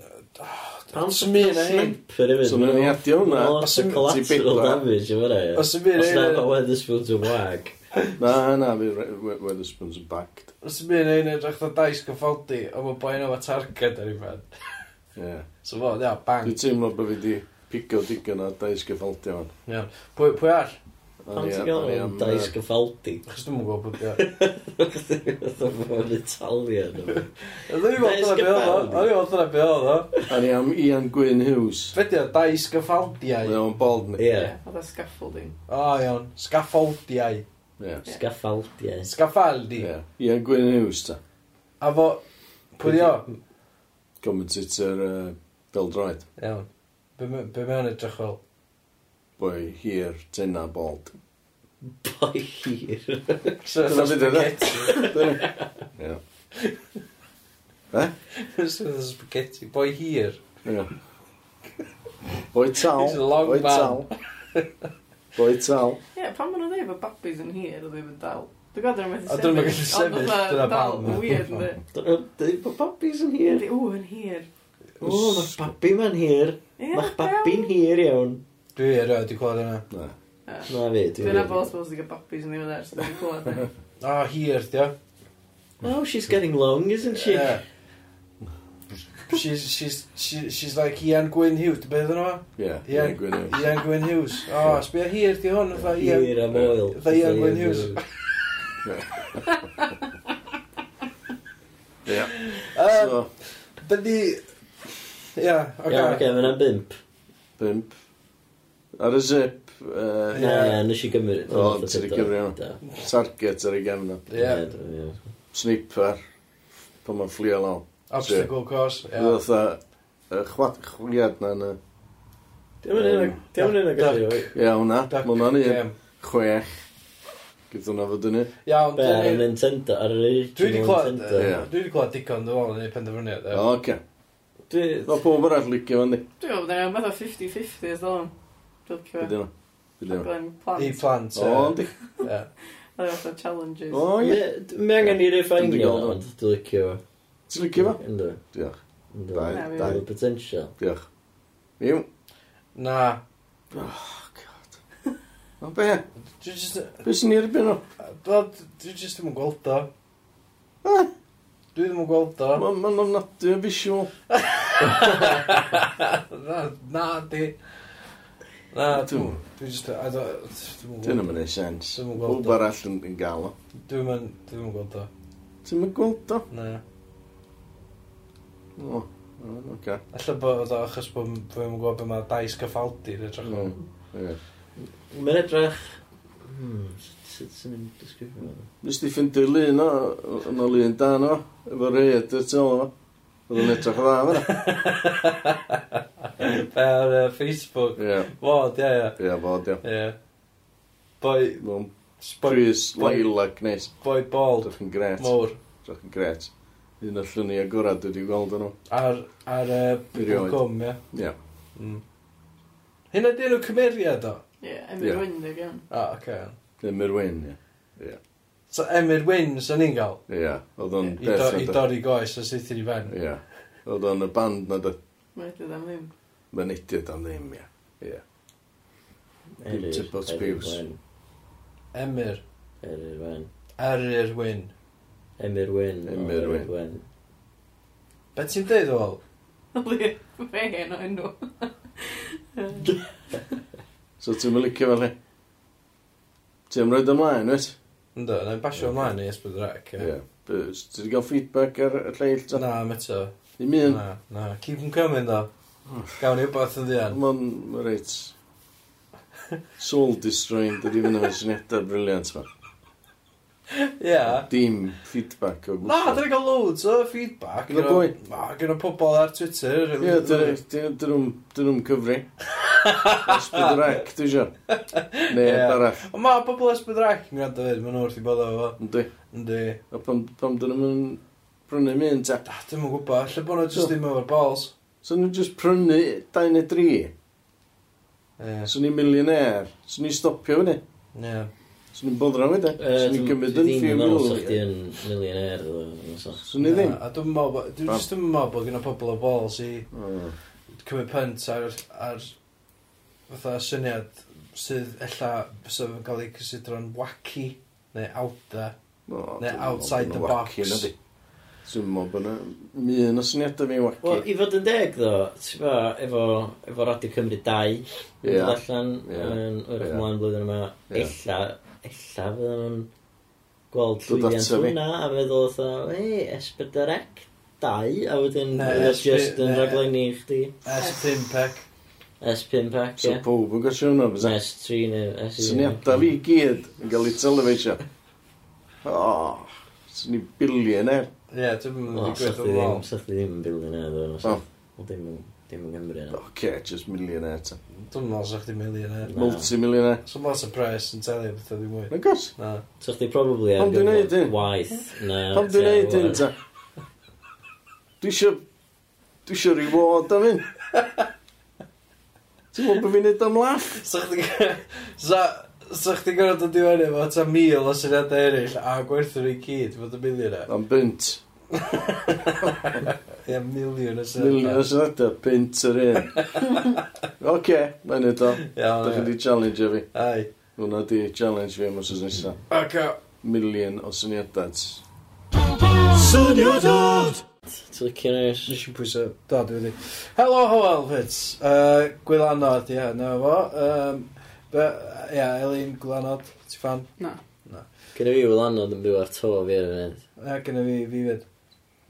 Pam
Sa'm un o hyn.
sniper hefyd?
So mae'n iadio hwnna.
Lot o
Ti'n
collateral
bidla.
damage efo e.
Os dim un o
Os
hyn-
na mae Weatherspoons yn wag.
Na, na, fi Re- We- Weatherspoons yn backed.
Os yw'n mynd yn edrych o dais gyffaldi, o mae boi nhw a targed ar ei fan.
Ie.
So fo, ia, bang.
Dwi'n teimlo bod fi wedi pigo digon o dais gyffaldi o'n.
Iawn. Pwy, pwy all?
Pam ti'n gael o'n dais gyffaldi?
Chos dwi'n mwyn gwybod pwy all.
Oedd o'n Italian. efo.
Dwi'n mwyn
Dais
gwybod dyna beth oedd o.
gyffaldi.
Dwi'n mwyn dyna beth oedd o.
Ani am Ian Gwyn Hughes.
Fedi o, dais gyffaldiau.
Mae o'n bald ni.
Ie.
Oedd o scaffolding.
O, iawn. Scaffoldiau.
Ie.
Sgaffaldiau.
Scaffaldi.
Ie. Ian Gwyn Hughes, ta.
A fo, pwy di o?
Commentator yy, Bill Droid.
Iawn. Be me- be mewn edrych fel?
Boi hir, tena bald.
Boi hir.
Sy'n
fydd hynna. Dyna. Ie. Be?
spaghetti. Boi hir.
Ie. Boi tal.
He's a long
Boi
man.
tal. Boi tal.
Ie, yeah, pan maen nhw'n dweud bod babis yn hir, oedd ddim yn dal. Dwi'n gwybod dyna'n methu
A dyn nhw'n gallu sefyll, dyna pam.
Weird, ynddi.
Dwi'n bod babis yn hir.
Ydy, o, yn hir.
O, mae'ch babi ma'n hir.
Ie,
Mae'ch
iawn.
babi'n hir iawn.
Dwi erioed wedi clywed hynna.
Na.
Ie.
Na fi,
Dwi'n
dwi'n
abo os bod sy'n gael babis yn ddim yn dweud, so dwi'n clywed. e.
O, hir, di o.
Oh, she's getting long, isn't she?
Yeah. She's, she's, she, she's like Ian Gwyn Hughes. Dy beth yna?
Ie.
Ian
Ian Gwyn Hughes.
Ian Gwyn Hughes. O, sbio hir, di hwn. Fatha Ian.
Hir am oil.
Fatha Ian Gwyn Hughes.
Ie.
Yym,
So,
Byddi... Ia,
Iawn, oce,
oce.
mae yna'n bimp.
pimp. Ar y zip, yy,
Ie.
Na, na, nes i gymryd.
O, ti 'di gymryd iawn. target ar ei gefn o.
Ia.
Ie.
Sniper. Pan mae'n fflio law.
Obstacle course.
Ie. Fydd chwat chwiad na yna.
Dwi'n mynd yna gallu o'i.
Ie, hwnna. Mae hwnna'n un.
Ia.
Chwech. Gyda hwnna fod yn un.
Iawn,
Be, ar y
dyn ni-
Nintendo, ar yr
dwi wedi
original
clywed...
Nintendo.
Dwi
Ie.
wedi clywed digon, dwi'n meddwl, yn ei penderfyniad. ie.
Oce.
Dwi-
Mae pob arall licio fan di.
Dwi'n meddwl bod yna'n methu 50-50 as ddol. Dwi'n
Byd
clywed.
yna. Byd yna.
Aglen
I
plant.
plant.
O,
ie.
di.
Ie.
Oedd o'n fatha challenges.
O, ie.
Ie, Mae angen i
Dwi'n
refinio,
gweld.
ond dwi'n licio fo.
Ti'n licio fo?
Ynddo.
Diolch.
Ynddo.
Dau.
Na, fi-
Dau.
Dwi'n potential.
Diolch. Miw.
Na.
O, be?
Dwi jyst...
Be sy'n ni'r byn o?
Wel, dwi jyst ddim yn gweld o.
Eh.
Dwi ddim yn gweld o.
Mae'n ofnadwy yn visual.
Na, na, di. Na, dwi
Dwi'm-
dwi jyst... I don't- Dwi'm yn
Dyn nhw'n
gweld o.
mynd sens.
Dwi'm yn gweld
Pob
o.
arall yn yn gael o.
Dwi'm yn... Dwi'm yn gweld o.
Ti'n mynd gweld o?
Na.
O, oce.
Alla bod oedd o achos bod m- bod fi'n gwybod beth mae dais gyffaldi yn edrych
Mm.
o.
Ie.
Mae'n edrych... Hmm, sut sy'n mynd disgrifio fo?
Nes di ffindi lun o, yn o lun dan o, efo reid y tel o. Oedd yn edrych dda fe.
Ar yy, Facebook.
Ie,
Fod, ie, ie.
ie, fod, ie.
Ie. Boi...
Mae'n
boi-
Chris
boi-
Laila Gnes.
Boi bald.
Dwi'n gret.
Mowr.
Drach yn gret. Un o'r lluniau agorad wedi gweld yn nhw.
Ar, ar y
Erioed.
gwm, ie.
Ie.
Mm. Hyn ydy'n nhw cymeriad o?
Ie,
Ie.
Emyr Wyn dy gan.
O, oh, oce. Okay.
Ddim yr wyn, ie.
So Emyr Wyn, sa'n ni'n gael?
Ie. Oedd o'n
I, do, I
beth...
dorri goes a syth i fen.
Ie. Oedd o'n y band na dy...
Mae wedi am ddim.
Mae'n idiot am ddim, ie. Ie.
Eryr,
Tibbot
eryr
Spews.
Wen,
Emyr,
Eryr Wen.
Eryr Wyn.
Emyr Wyn.
Emyr
o,
Wyn.
Wen.
Be ti'n deud o fel?
Fe yn o enw.
So ti'n mynd licio fel hi? Ti'n rhaid ymlaen, wyt?
Ynddo, na'n basio ymlaen i esbyd rec. ie.
Ie. Be- s- Ti wedi cael feedback ar y lleill ta?
Na, meto.
Dim un.
Na, na. Keep 'em coming, do.
Hmm.
Gawn ni wbeth yn ddian.
Mae'n ma reit soul destroying dydy fyny mewn syniadau briliant ma.
Ie.
Dim feedback o
Na, dyn ni'n cael loads o feedback.
Gyda pwy?
Na, gyda pobl ar Twitter.
Ie, dyn nhw'n cyfri. Ysbyd rec, dwi eisiau. Ne,
Ie.
arall.
Ond mae pobl esbyd rec yn gwrando fyd, maen nhw wrth i bod o fo.
Ynddi.
Yndi.
A pam, pam dyn nhw'n prynu mynd ta?
Da, dim yn gwybod, lle bod nhw jyst ddim efo'r balls.
So nhw'n just prynu dau neu dri.
Ie.
So ni'n millionaire. So ni'n stopio fyny.
Ie.
So ni'n bodd rawn fyny. So ni'n cymryd yn
few
ffio
mil. Dwi'n
mil.
yn millionaire. ddo, so.
So ni ddim.
Na, A dwi'n meddwl, bo- dwi'n
Pam?
jyst ddim yn meddwl bod gyda pobl o balls i
O,
cymryd pynt ar, ar fatha syniad sydd ella sydd yn cael ei cysidro'n wacky neu awda.
o,
Neu
dwi'm yn
outside
meddwl
the
bod nhw'n
box.
wacky, nadi? Dwi'n meddwl bod yna... Mi yn o syniadau fi
Wel,
wacky.
i fod yn deg ddo, ti'n ba, efo, efo Radio Cymru 2,
Ie.
yn dod allan
Ie.
yn yr
Ie.
ymlaen blwyddyn yma,
Ie.
ella, ella fydden nhw'n gweld
Dod
llwyddiant
ata fi.
hwnna a feddwl otha, hei, Esbydorec 2, a wedyn
Ne,
fydd o
S P-
just yn
ne.
rhaglenni i chdi.
S5 pec.
S5 ac,
So
ie.
pob yn gosio hwnna, fysa?
S3 neu S1.
Syniadau fi i gyd yn cael ei telefisio. O, oh, sy'n ni bilion er.
Ie, dwi'n
O,
meddwl
sa'ch
gwyth
di
o'n
ddim,
wal.
sa'ch di ddim yn bildion e, ddo.
O.
na, Wel, Dim yn- dim yn Gymru, na.
Oce, okay, just million er ta.
Dwi'n meddwl sa'ch di millionaire.
Na.
Multi-million er.
So lot o pres yn telu beth oedd i mwy.
Na gos,
Na.
Sa'ch di probably ar
Pam dwi'n neud
gyfer
hyn?
waith, na...
pam dwi'n
tua-
neud hyn ta? Dwi isio... Dwi isio reward am hyn. Ti'n mwyn bod fi'n neud am laff?
Sa'ch di... sa- Sa'ch di gorau dod i fyny efo ta mil o syniadau eraill a gwerthu nhw i gyd fod y miliwn e.
Am bint.
Ie, miliwn o
Milion o
syniadau.
syniadau, bint yr un. Oce, okay, mae'n neud o. Da chi
Iawn, ie.
di challenge fi.
Ai.
Hwna di challenge fi am os oes nesaf.
Oce.
Milion o syniadau.
Ti'n licio nes?
Nes i'n pwysa. Da, dwi wedi. Helo, hoel, fits. Uh, Gwylanod, ie, na fo. Um, be- Ie, Elin, Gwylanod, ti fan?
Gynna fi fel anod yn byw ar to fi ar y fynd.
Ie, gyda fi, fi fyd.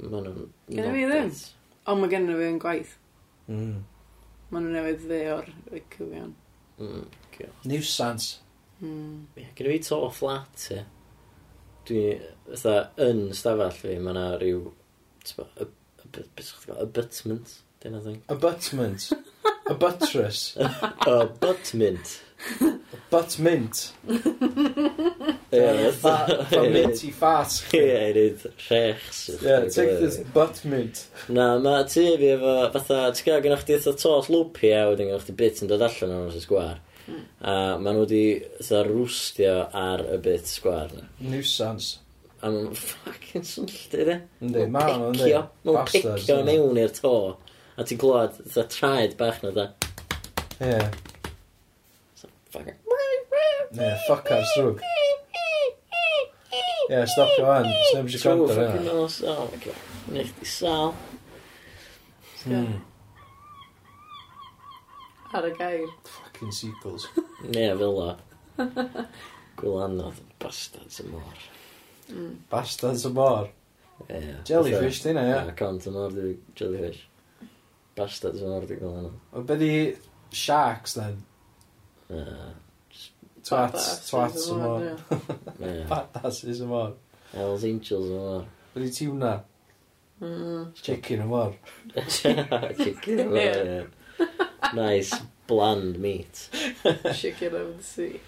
Ma' nhw'n...
Gynna fi ddim. Ond mae gen i fi yn gwaith.
Hmm.
Mm.
Mae nhw newydd dde o'r y cyfion.
Mm.
Nuisance.
Mm.
Ie, Gynna fi to fflat, ie. Dwi, fatha, yn stafell fi, mae yna rhyw, t'bo, y- y- be- be' s'ch ti'n gwbo, abutment, dyna thing.
Abutment. A buttress.
Abutment.
Butt mint.
Ie,
Fa- fa- mint i ffas.
Ie, i reid rhechs.
Yeah, take this butt mint.
Na, ma tu fi efo, fatha, ti'n gael gynnwch chi eitha tos lwpi a wedyn gynnwch chi bit yn dod allan o'n os y sgwar.
Hmm.
A maen nhw wedi, fatha, rwstio ar y bit sgwar na.
Nuisance.
A maen nhw'n ffucking swnlltu, de.
Yndi, ma' nhw'n
picio,
yndi.
maen nhw'n
Bastards,
picio
yndyn nhw.
mewn i'r to. A ti'n glwad, dda traed bach na, dda.
Ie.
Fucking...
Ie, fuck ar strwg. Ie, stopio fan. Sneb eisiau gwrando
Trw
ar
fucking
hynna.
nos, oh my god. Neu chdi sal.
Hmm.
Ar y gair.
Fucking seagulls.
Ie, fel o. Gwylanodd, bastards y mor.
Hmm.
Bastards o mor.
Ie,
Jellyfish, dyna,
fatha-
ie.
Na, cont y mor di jellyfish. Bastards y mor di gwylanodd.
O, be di sharks, then?
Ie.
Twats, twats o mor.
Ie.
Badasses o mor.
Hells Angels y mor.
Be di tuna?
Hmm.
Chicken o mor.
Chicken y mor, ie. Nice, bland meat.
Chicken over the sea.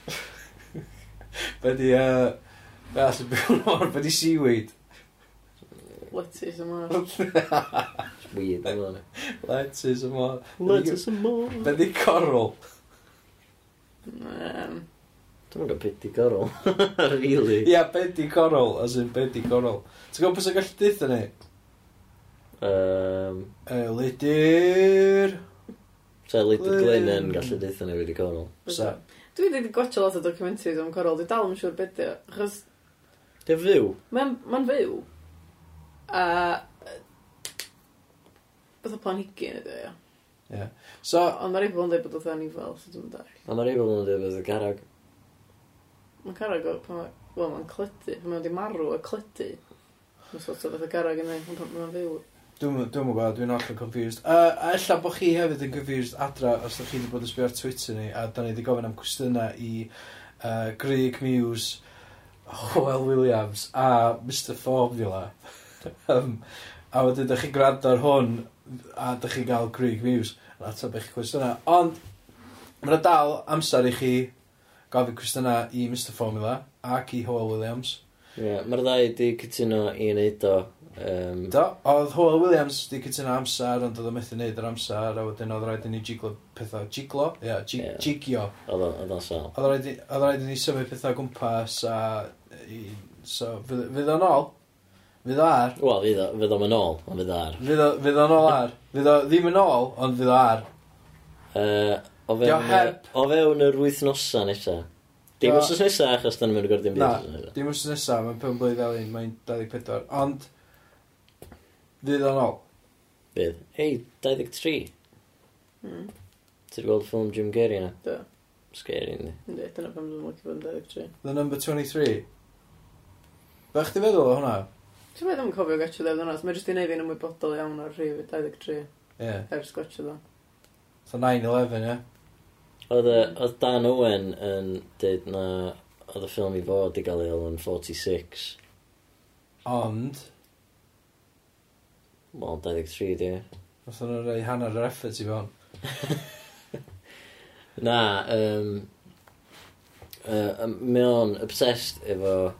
Be di, uh, be allan byw mor, be di seaweed?
lettuce yma.
It's weird, fel yna.
Lettuce and more.
Lettuce and more.
Da ni corol.
Um,
Dwi'n gwybod beth di gorol. really?
Ia, be di corol, as in be di corol. Ti'n gwybod beth sy'n gallu dweud ni?
Um,
Uh, Lydyr.
so, Lyd y Glyn yn gallu deitha ni wedi gorol.
Sa.
dwi wedi gwachio lot o documentaries am corol, dwi dal yn siŵr beth yw. Achos
Dy fyw?
mae'n ma fyw. A... yy, Beth o planhigyn ydy, ia.
So,
Ond mae'r ebol yn dweud bod o'n anifel, so dwi'n dar.
A mae rei bobl yn dweud beth y garag.
Mae'n carag o... pan ma- Wel, mae'n clydu. Pan mae'n wedi marw a clydu. Mae'n sort o beth o garag yn ei, pan pan mae'n fyw.
Dwi'n dwi'n gwybod, dwi'n hollol confused. Uh, a ella bod chi hefyd yn confused adra os ydych chi wedi bod yn sbio ar Twitter ni, a da ni wedi gofyn am cwestiynau i uh, Greg Muse, Howell Williams a Mr Formula. um, a wedyn ydych chi'n gwrando ar hwn, a ydych chi'n gael Greg Muse yn atab eich cwestiynau. Ond, mae'n dal amser i chi gofyn cwestiynau i Mr Formula ac i Howell Williams.
Ie, Mae'r ddau wedi cytuno i wneud o. Um,
Do, oedd Howell Williams di cytuno amser, ond oedd o methu neud yr amser, a wedyn oedd rhaid i ni jiglo pethau. Jiglo? Ie, yeah, jig,
Ie.
jigio.
Oedd o- oedd o'n sal.
Oedd rhaid i- oedd rhaid i ni symud pethau o gwmpas, a... I, so, fydd fydd o'n ôl. Fydd o ar.
Wel, fydd o- fydd o'n ôl, ond fydd o ar.
Fydd o- fydd o'n ôl ar. Fydd o ddim yn ôl, ond fydd o ar.
Uh, o,
Dio
fewn, y-
heb.
o fewn yr wythnosa nesa. Dim
Do.
os nesa, achos dan mynd o'r dim
Na,
byd. wythnos nesa.
dim wrth nesaf, mae'n pen blwydd elin, mae'n 24. Ond, fydd o'n ôl.
Bydd. Hei, 23.
Mm.
Ti'n gweld ffilm Jim Carrey yna?
Do.
Scary, yndi.
Yndi, dyna pan dwi'n mwyn bod yn 23.
The number 23. Fe chdi feddwl o hwnna?
Ti'n meddwl ddim yn cofio gatio ddefnydd hwnna, so mae jyst i neud fi'n ymwybodol iawn o'r rhif 23
Ie. Yeah.
ers gwachio ddo.
So 9-11, ie.
Oedd y- oedd Dan Owen yn dweud na oedd y ffilm i fod i gael ei alw'n 46.
Ond,
Wel, 23, di.
Nath nhw rei hanner yr effort i fewn.
Na, um, uh, mae o'n obsessed efo...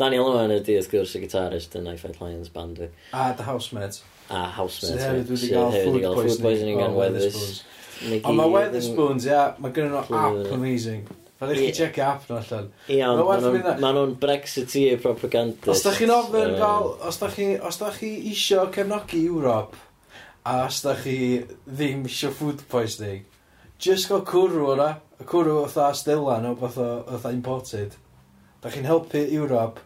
Daniel Owen ydi, wrth gwrs, y gitarist yn Knife Fight Lions band fi.
A The Housemates.
A
Sydd
Housemates.
hefyd wedi
sydd
cael
hefyd
food
wedi cael food poisoning
poisoning Oh, o Weatherspoons.
gan Weathers.
Ond mae Weatherspoons, ia, mae gen nhw
Clearly.
app amazing. Fel eich
Ie.
chi checio app nhw allan.
Ia,
Ma' werth mynd a-
ond maen nhw'n Brexiteer propagandist.
Os da chi'n ofyn
yym,
fel, os da chi, os da chi isio cefnogi Ewrop, a os da chi ddim isio food poisoning, just go cwrw o'na, y cwrw o'tha stela nhw, o'tha imported. Da chi'n helpu Ewrop,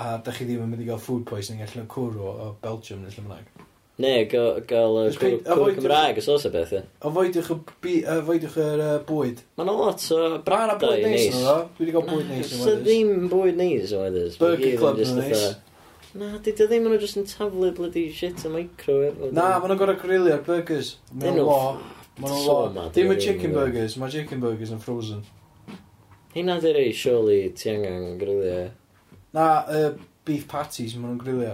a da chi ddim yn mynd i gael food poisoning allan o cwrw o Belgium neu lle bynnag.
Ne, go- gael y
Just
cwr-
pe-
cwr
avoid-
Cymraeg os oes y beth. ie.
Ofoedwch y, bi- yy, foedwch yr uh, bwyd.
Maen nhw lot o
Bra'n a
bragdau
bwyd neis
neis.
yn ddo. Dwi wedi cael bwyd neis yn
So
wedys.
ddim bwyd neis o Weathers.
Burger Club yn neis.
Na, di di ddim yn just yn taflu bloody shit o micro.
Na, maen nhw'n gorau grillio'r burgers. Maen
Dyn
nhw'n
nhw-
lo. Maen
so
nhw'n lo.
mad
Dim y
rili,
chicken
ynde.
burgers. Mae chicken burgers yn frozen.
Hynna di rei, surely, ti angen grillio.
Na, yy, beef patties maen nhw'n grillio.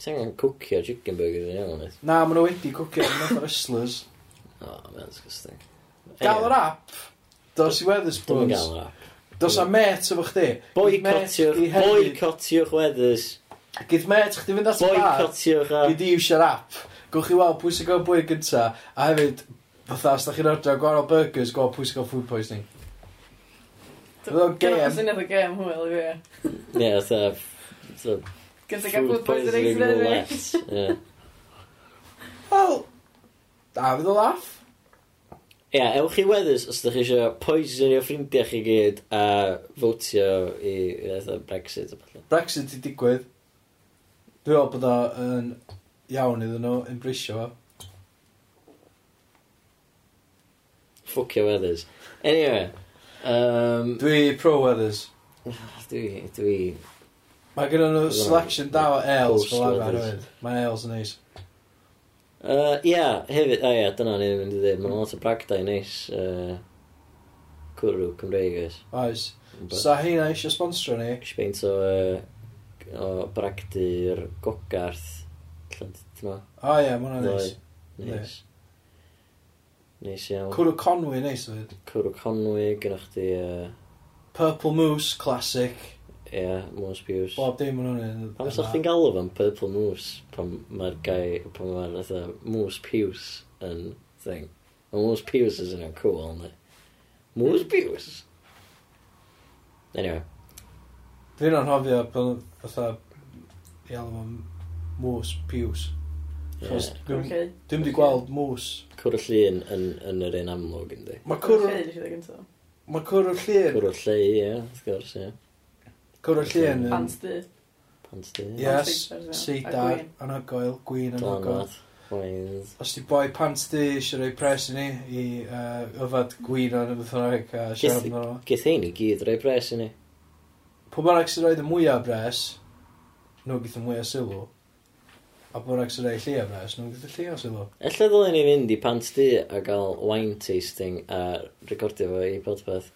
Ti angen cwcio chicken burgers yn iawn, eith.
Na, maen nhw wedi cwcio yn fath wrestlers.
O, mae'n disgusting.
Gael yr app. Dos i
Dwi'n
Weatherspoons.
gael yr app.
Dos a met efo chdi.
Boycotiwch, boycotiwch Weathers.
Gyd met chdi fynd at y bar.
Boycotiwch a...
Fi di iwsio'r app. Gwch chi weld pwy sy'n gael bwyd gynta, a hefyd, fatha, os da chi'n ordro gwahanol burgers, gweld pwy sy'n gael food poisoning. Oedd o'n gem.
Dyna syniad o gem hwyl i fi.
Ie, fatha... fatha
Gyda gael food poisoning sydd yn ei.
roulette, ie.
Wel, a fydd o laff.
Ie, ewch i Weathers os ydych chi eisiau poison i'w ffrindiau chi gyd a votio i fatha Brexit a falle.
Brexit i digwydd. Dwi'n meddwl bod o'n iawn iddyn nhw, embrisio fo.
Ffwcio Weathers. Anyway, um,
Dwi pro-weathers.
dwi, dwi,
Mae gen nhw
Dwi'n
selection da o ales fel arfer
Post-weathers.
hefyd. Mae ales yn neis.
Uh, ia, hefyd, o ia, dyna ni'n mynd i ddweud, mae'n lot o bragdau neis uh, cwrw Cymreig, oes.
Oes.
Ond
Sa heina eisiau sponsro ni.
Sbeint o, uh, o bragdu'r gogarth, llyn, ti'n ma?
O ie, mae hwnna'n neis.
Neis. Neis iawn.
Cwrw Conwy neis hefyd.
Cwrw Conwy, gynnwch chi... Uh,
Purple Moose, classic.
Ie, Moose Piws.
Bob dim yn hwnnw.
Pam sa'ch chi'n galw fan Purple Moose pan mae'r gai, pan mae'r atho Moose Piws yn thing. Mae Moose Piws is yn cool, ynddi. Moose Piws! Anyway,
Dwi'n anhofio pan fatha i alw am mwys piws. Chos
Ie.
Dwi'n
Okay.
dwi'n di gweld mwys.
cwr y llun yn, yn yr un amlwg, ynddi.
Mae cwrw,
Cwrw... Cwrw...
mae cwrw llun,
Cwr y lle, ie, wrth gwrs, ie.
cwrw llun yn,
Pants di.
Pants di.
yes,
Pants
seidar,
a gwin.
anhygoel, gwyn anhygoel.
Donat. Wines.
Os di boi pants di eisiau rhoi pres i ni i uh, yfad gwyn o'n ymwneud â'r a siarad
Geth-
yn ôl.
Geith hyn i gyd rei bres i ni.
Pwy bynnag sy'n rhoi'r mwyaf bres, nhw gyda mwyaf sylw. A pwy bynnag sy'n rhoi'r llia bres, nhw gyda llia sylw.
Ella ddylen ni fynd i pants di a gael wine tasting a recordio fo i podpeth.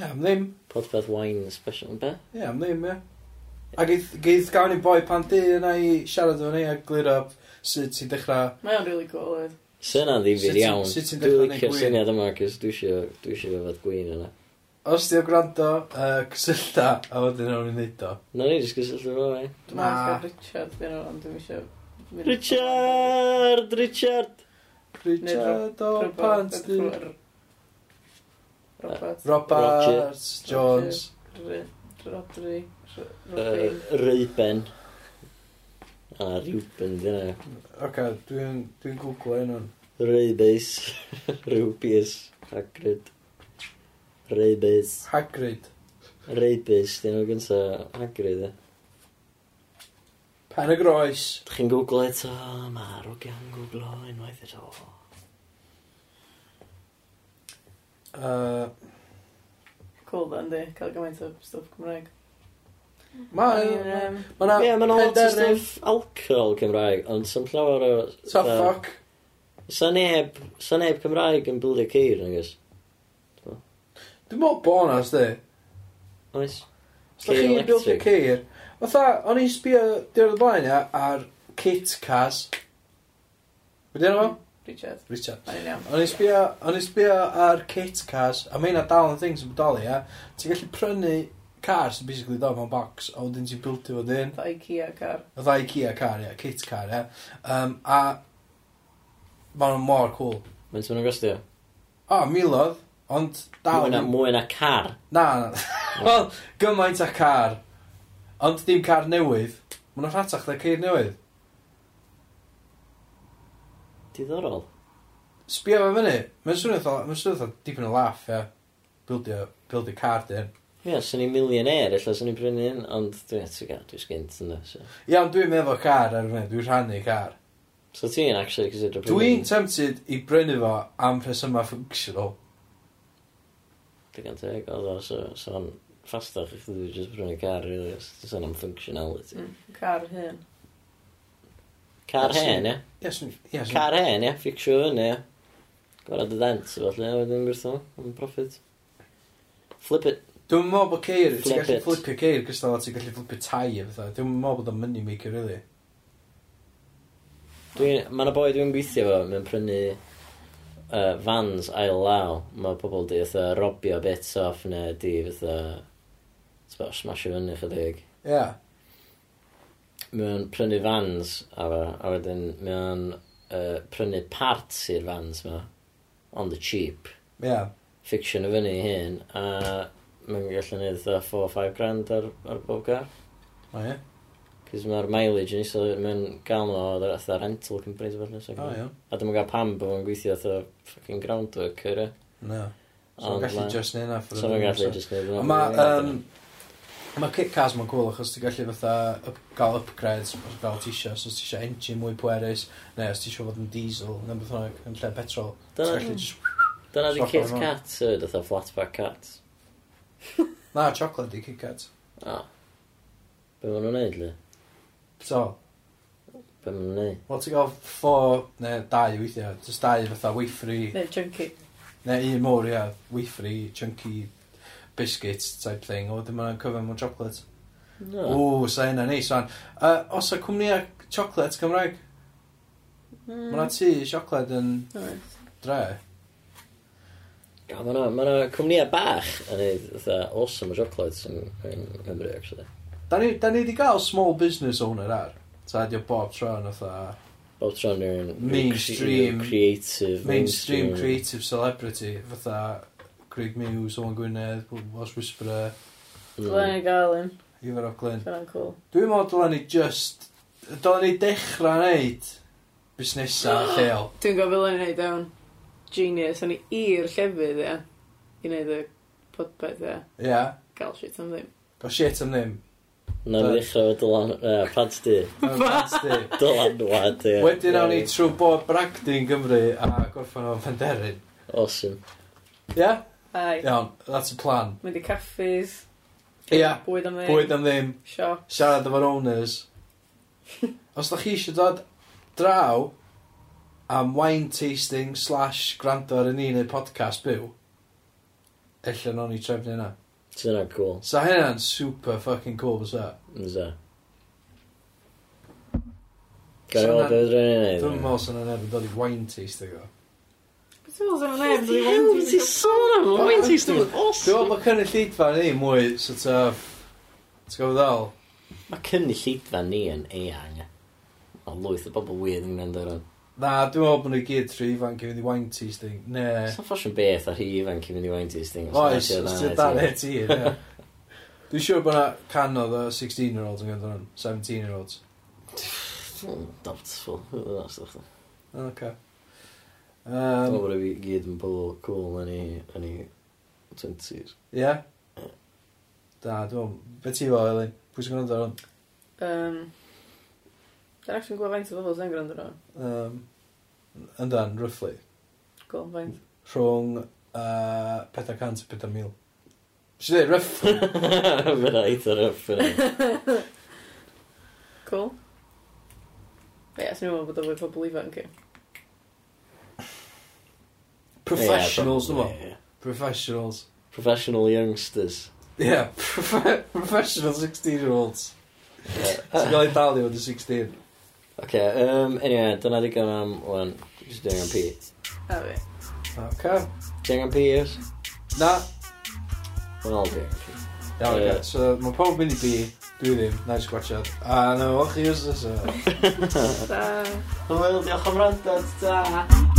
Ie, am ddim.
Podpeth wine special, be?
Ie, am ddim, ie. A geith, geith gawn i boi pan di yna i siarad efo ni a glir up sut i ddechrau...
Mae o'n really cool, oedd.
Syna ddifir
Sut ti-
iawn.
sut ti'n
Dwi'n
dechrau
licio
neud gwin?
syniad yma, cys dwi isio, dwi isio fod gwyn yna.
Os di o gwrando, uh, cysyllta, a wedyn nhw'n ei wneud o.
Na ni, jyst gysylltu fo, e.
Dwi'n meddwl gael Richard dyn nhw, ond dwi'n eisiau...
Richard! Richard!
Richard o pants di...
Robert.
Robert Jones.
Rodri. Rodri.
Uh,
Robin.
Reiben. A Reuben, dyna.
Oce, dwi'n dwi googlo un o'n.
Reibes. Rubius. Hagrid. Reibes.
Hagrid.
Reibes, dyn nhw gynta Hagrid, e.
Pen y groes.
Dych chi'n googlo eto, mae arwg iawn googlo unwaith eto.
Uh,
Cool, dda, ynddi. Cael gymaint o stwff Cymraeg.
Mae
Mae'n...
ma
Ie, mae'n lot o
Penderyn.
stuff alcohol Cymraeg, ond sy'n llawer o...
Top fuck.
Sa neb, sa neb Cymraeg yn bildio ceir, nag ys?
Dwi'n meddwl bonus, di.
Oes?
Os da chi'n build y ceir... Fatha, o'n i'n sbio diwrnod blaen ia, ar Kit Cas. Wedi enw fo?
Richard.
Richard.
Mae'n iawn.
Mm.
O'n i'n sbio, o'n i'n sbio ar kit cars, a mae yna dal yn things yn bodoli, ia. Ti'n gallu prynu car sy'n basically dod mewn box, a wedyn ti'n buildio fo dyn.
Dda Ikea car.
Y ddau Kia car, ia, kit car, ia. Um, a maen nhw'n mor cool.
Mae'n sy'n gostio?
O, milodd, ond dal...
Mwy na, mwy na car.
Na, na. Wel, gymaint a car. Ond dim car newydd. Mae'n rhatach dda ceir newydd.
Diddorol.
Sbio fe fyny. Mae'n swnio fatha- mae'n swnio fatha dipyn o laff, ia. Buildio, buildio car dyn.
Ie, yeah, sy'n i'n millionaire, illa sy'n i'n prynu un, ond dwi'n eto gael, dwi'n sgint yna. So,
Ia, ond dwi'n meddwl car ar y funud, dwi'n rhannu car.
so ti'n actually cysidro prynu
Dwi'n tempted i brynu fo am rhesyma functional.
Dwi'n gan teg, oedd o, so, so o'n ffastach i chdi just prynu car, really, os dwi'n am functionality.
Mm, Car hyn.
Car
Actually-
hen, ie?
Yes, n- yes. n-
Car hen, ie? Fixio hynny, ie? Gwarad y dent, o falle, a wedyn gwrtho, am profit. Flip it.
Dwi'n meddwl bod ceir, ti'n
Flip
gallu
it.
flipio ceir, gystal â ti'n gallu flipio tai a fatha. Dwi'n meddwl bod o'n money maker, really.
Dwi'n, mae yna boi dwi'n gweithio fo, mae'n prynu uh, vans ail law. Mae pobl di fatha robio bits off neu di fatha t'bo, smasho fyny chydig.
Ia. Yeah.
Mae'n prynu vans a, fe- a wedyn mae'n uh, prynu parts i'r vans ma on the cheap.
Ia. Yeah.
Fiction o fyny i hyn a mae'n gallu neud fatha 4-5 grand ar, ar bob car.
O, ie.
Cys mae'r mileage yn iso, mae'n gael nhw o'r fatha rental companies o falle. so-
O, ie.
A dyma gael pam bod yn gweithio fatha fucking ground worker, e.
Na. So,
Ond
yn gallu
ma-
just neud na. for
So mae'n
another
gallu
amser.
just neud
A
hwnna.
Mae, um, mae kit cars ma'n cool achos ti'n gallu fatha up, gael upgrades os gael ti isio, os ti isio engine mwy pwerus, neu os ti isio fod yn diesel, neu beth bynnag, yn lle petrol. Ti'n
Dyna,
gallu just...
dyna di
Sorry,
Kit
no.
Kat, sir, dyna flatback cat.
Na, chocolate di Kit Kats.
O. Be maen nhw'n neud, le?
So,
Be maen nhw'n neud?
Wel, ti'n gael ffo, neu dau weithiau, jyst dau fatha wafery,
Neu chunky.
neu un mor, ia, wafery, chunky biscuit type thing, o, dim ond cyfan mewn chocolate.
No.
O, sa hynna neis, fan. Uh, os y cwmnïa chocolate Cymraeg, mm.
Mm.
mae'na tu chocolate yn
Oes.
dre.
Mae yna ma 'na cwmnïau bach yn neud fatha awesome chocolates yn, yn Nghymru, actually.
Da ni, da ni di gael small business owner ar. Ta ydi o bob tro'n fatha
Bob tron yw'n...
Mainstream-
Creative.
mainstream creative celebrity. Fatha Greg Mews, Owen Gwynedd, Os Whisperer,
Mm. Hmm.
Dylen ni gael un,
Iver Oglyn.
dylen cool.
Dwi'n meddwl dylen ni just... Dylen ni dechrau wneud busnesau lleol.
Dwi'n gofio dylen ni wneud ewn genius, o'n i i'r llefydd, ia, i wneud y podpeth, ia,
Ia. Yeah.
gael shit am ddim.
Go shit am ddim.
Na mi ddechrau fo dylan... Uh, pads di.
Yn fans di.
Dylan wad, ie.
Wedyn awn ni trwy bod bragdi'n Gymru a gorffan o Penderin.
Awesome.
Ia? Yeah?
Ai,
Iawn, that's a plan.
mynd i caffis,
Ia, yeah.
bwyd am ddim,
bwyd am ddim,
siop.
siarad efo'r owners. Os da chi eisiau dod draw am wine tasting slash gwrando ar y ni neu podcast byw, ella no'n ni trefnu yna.
Sy'n yna cool.
So hynna'n super fucking cool fysa.
Fysa.
So
Gael i
na-
weld beth rydyn ni'n neud.
Dwi'n meddwl sy'n yna dod i wine tasting o.
Beth yw'n sôn am neb?
Bloody hell, beth ti'n sôn am? Mae'n ti'n sôn am
Dwi'n meddwl
awesome.
bod cynnig llidfa ni mwy, sort of, ti'n gofod ddol?
Mae cynni llidfa ni yn eang. O lwyth o bobl weird yn gwneud ar hwn.
Na, dwi'n meddwl bod nhw i gyd tri ifanc i fynd i wine tasting. Ne.
Sa'n ffasiwn beth ar hi ifanc i fynd i wain tasting.
Oes, os ti'n dan e ti, ie. Dwi'n siŵr bod na canodd o 16-year-olds yn gyda'n hwn, 17-year-olds.
Doubtful. Os ydych chi.
Ok.
Dwi'n meddwl
Yym,
bod fi gyd yn bobl cool yn ei... yn ei... 20s.
Ie? Da, dwi'n meddwl. Be ti fo, Elin? Pwy sy'n gwneud ar hwn?
Um, Dwi'n actually yn gwybod faint o bobl sy'n gwrando ar hwn.
Yym, Yndan, roughly.
Cool, faint.
Rhwng yy, 400 a 500,000. Si'n dweud, roughly?
Mae'n rhaid ar yff yn ei.
Cool. Ie, yeah, sy'n meddwl bod o fwy pobl ifanc i.
Professionals, dwi'n meddwl. Professionals.
Professional youngsters.
Ie, profe- professional 16-year-olds. Ti'n gael ei dalu oedd y 16.
Ok, um, anyway, dyna ddigon am, wan, just dyng am P.
A fi.
Okay.
Dyng am P yw'r?
Na.
Wel, dyng am P.
Iawn,
Ie.
yeah. So, mae pob mynd i bi. Dwi ddim. Na i sgwatiad. A na, o'ch chi ys ys
Da.
Wel, diolch am rando, ta.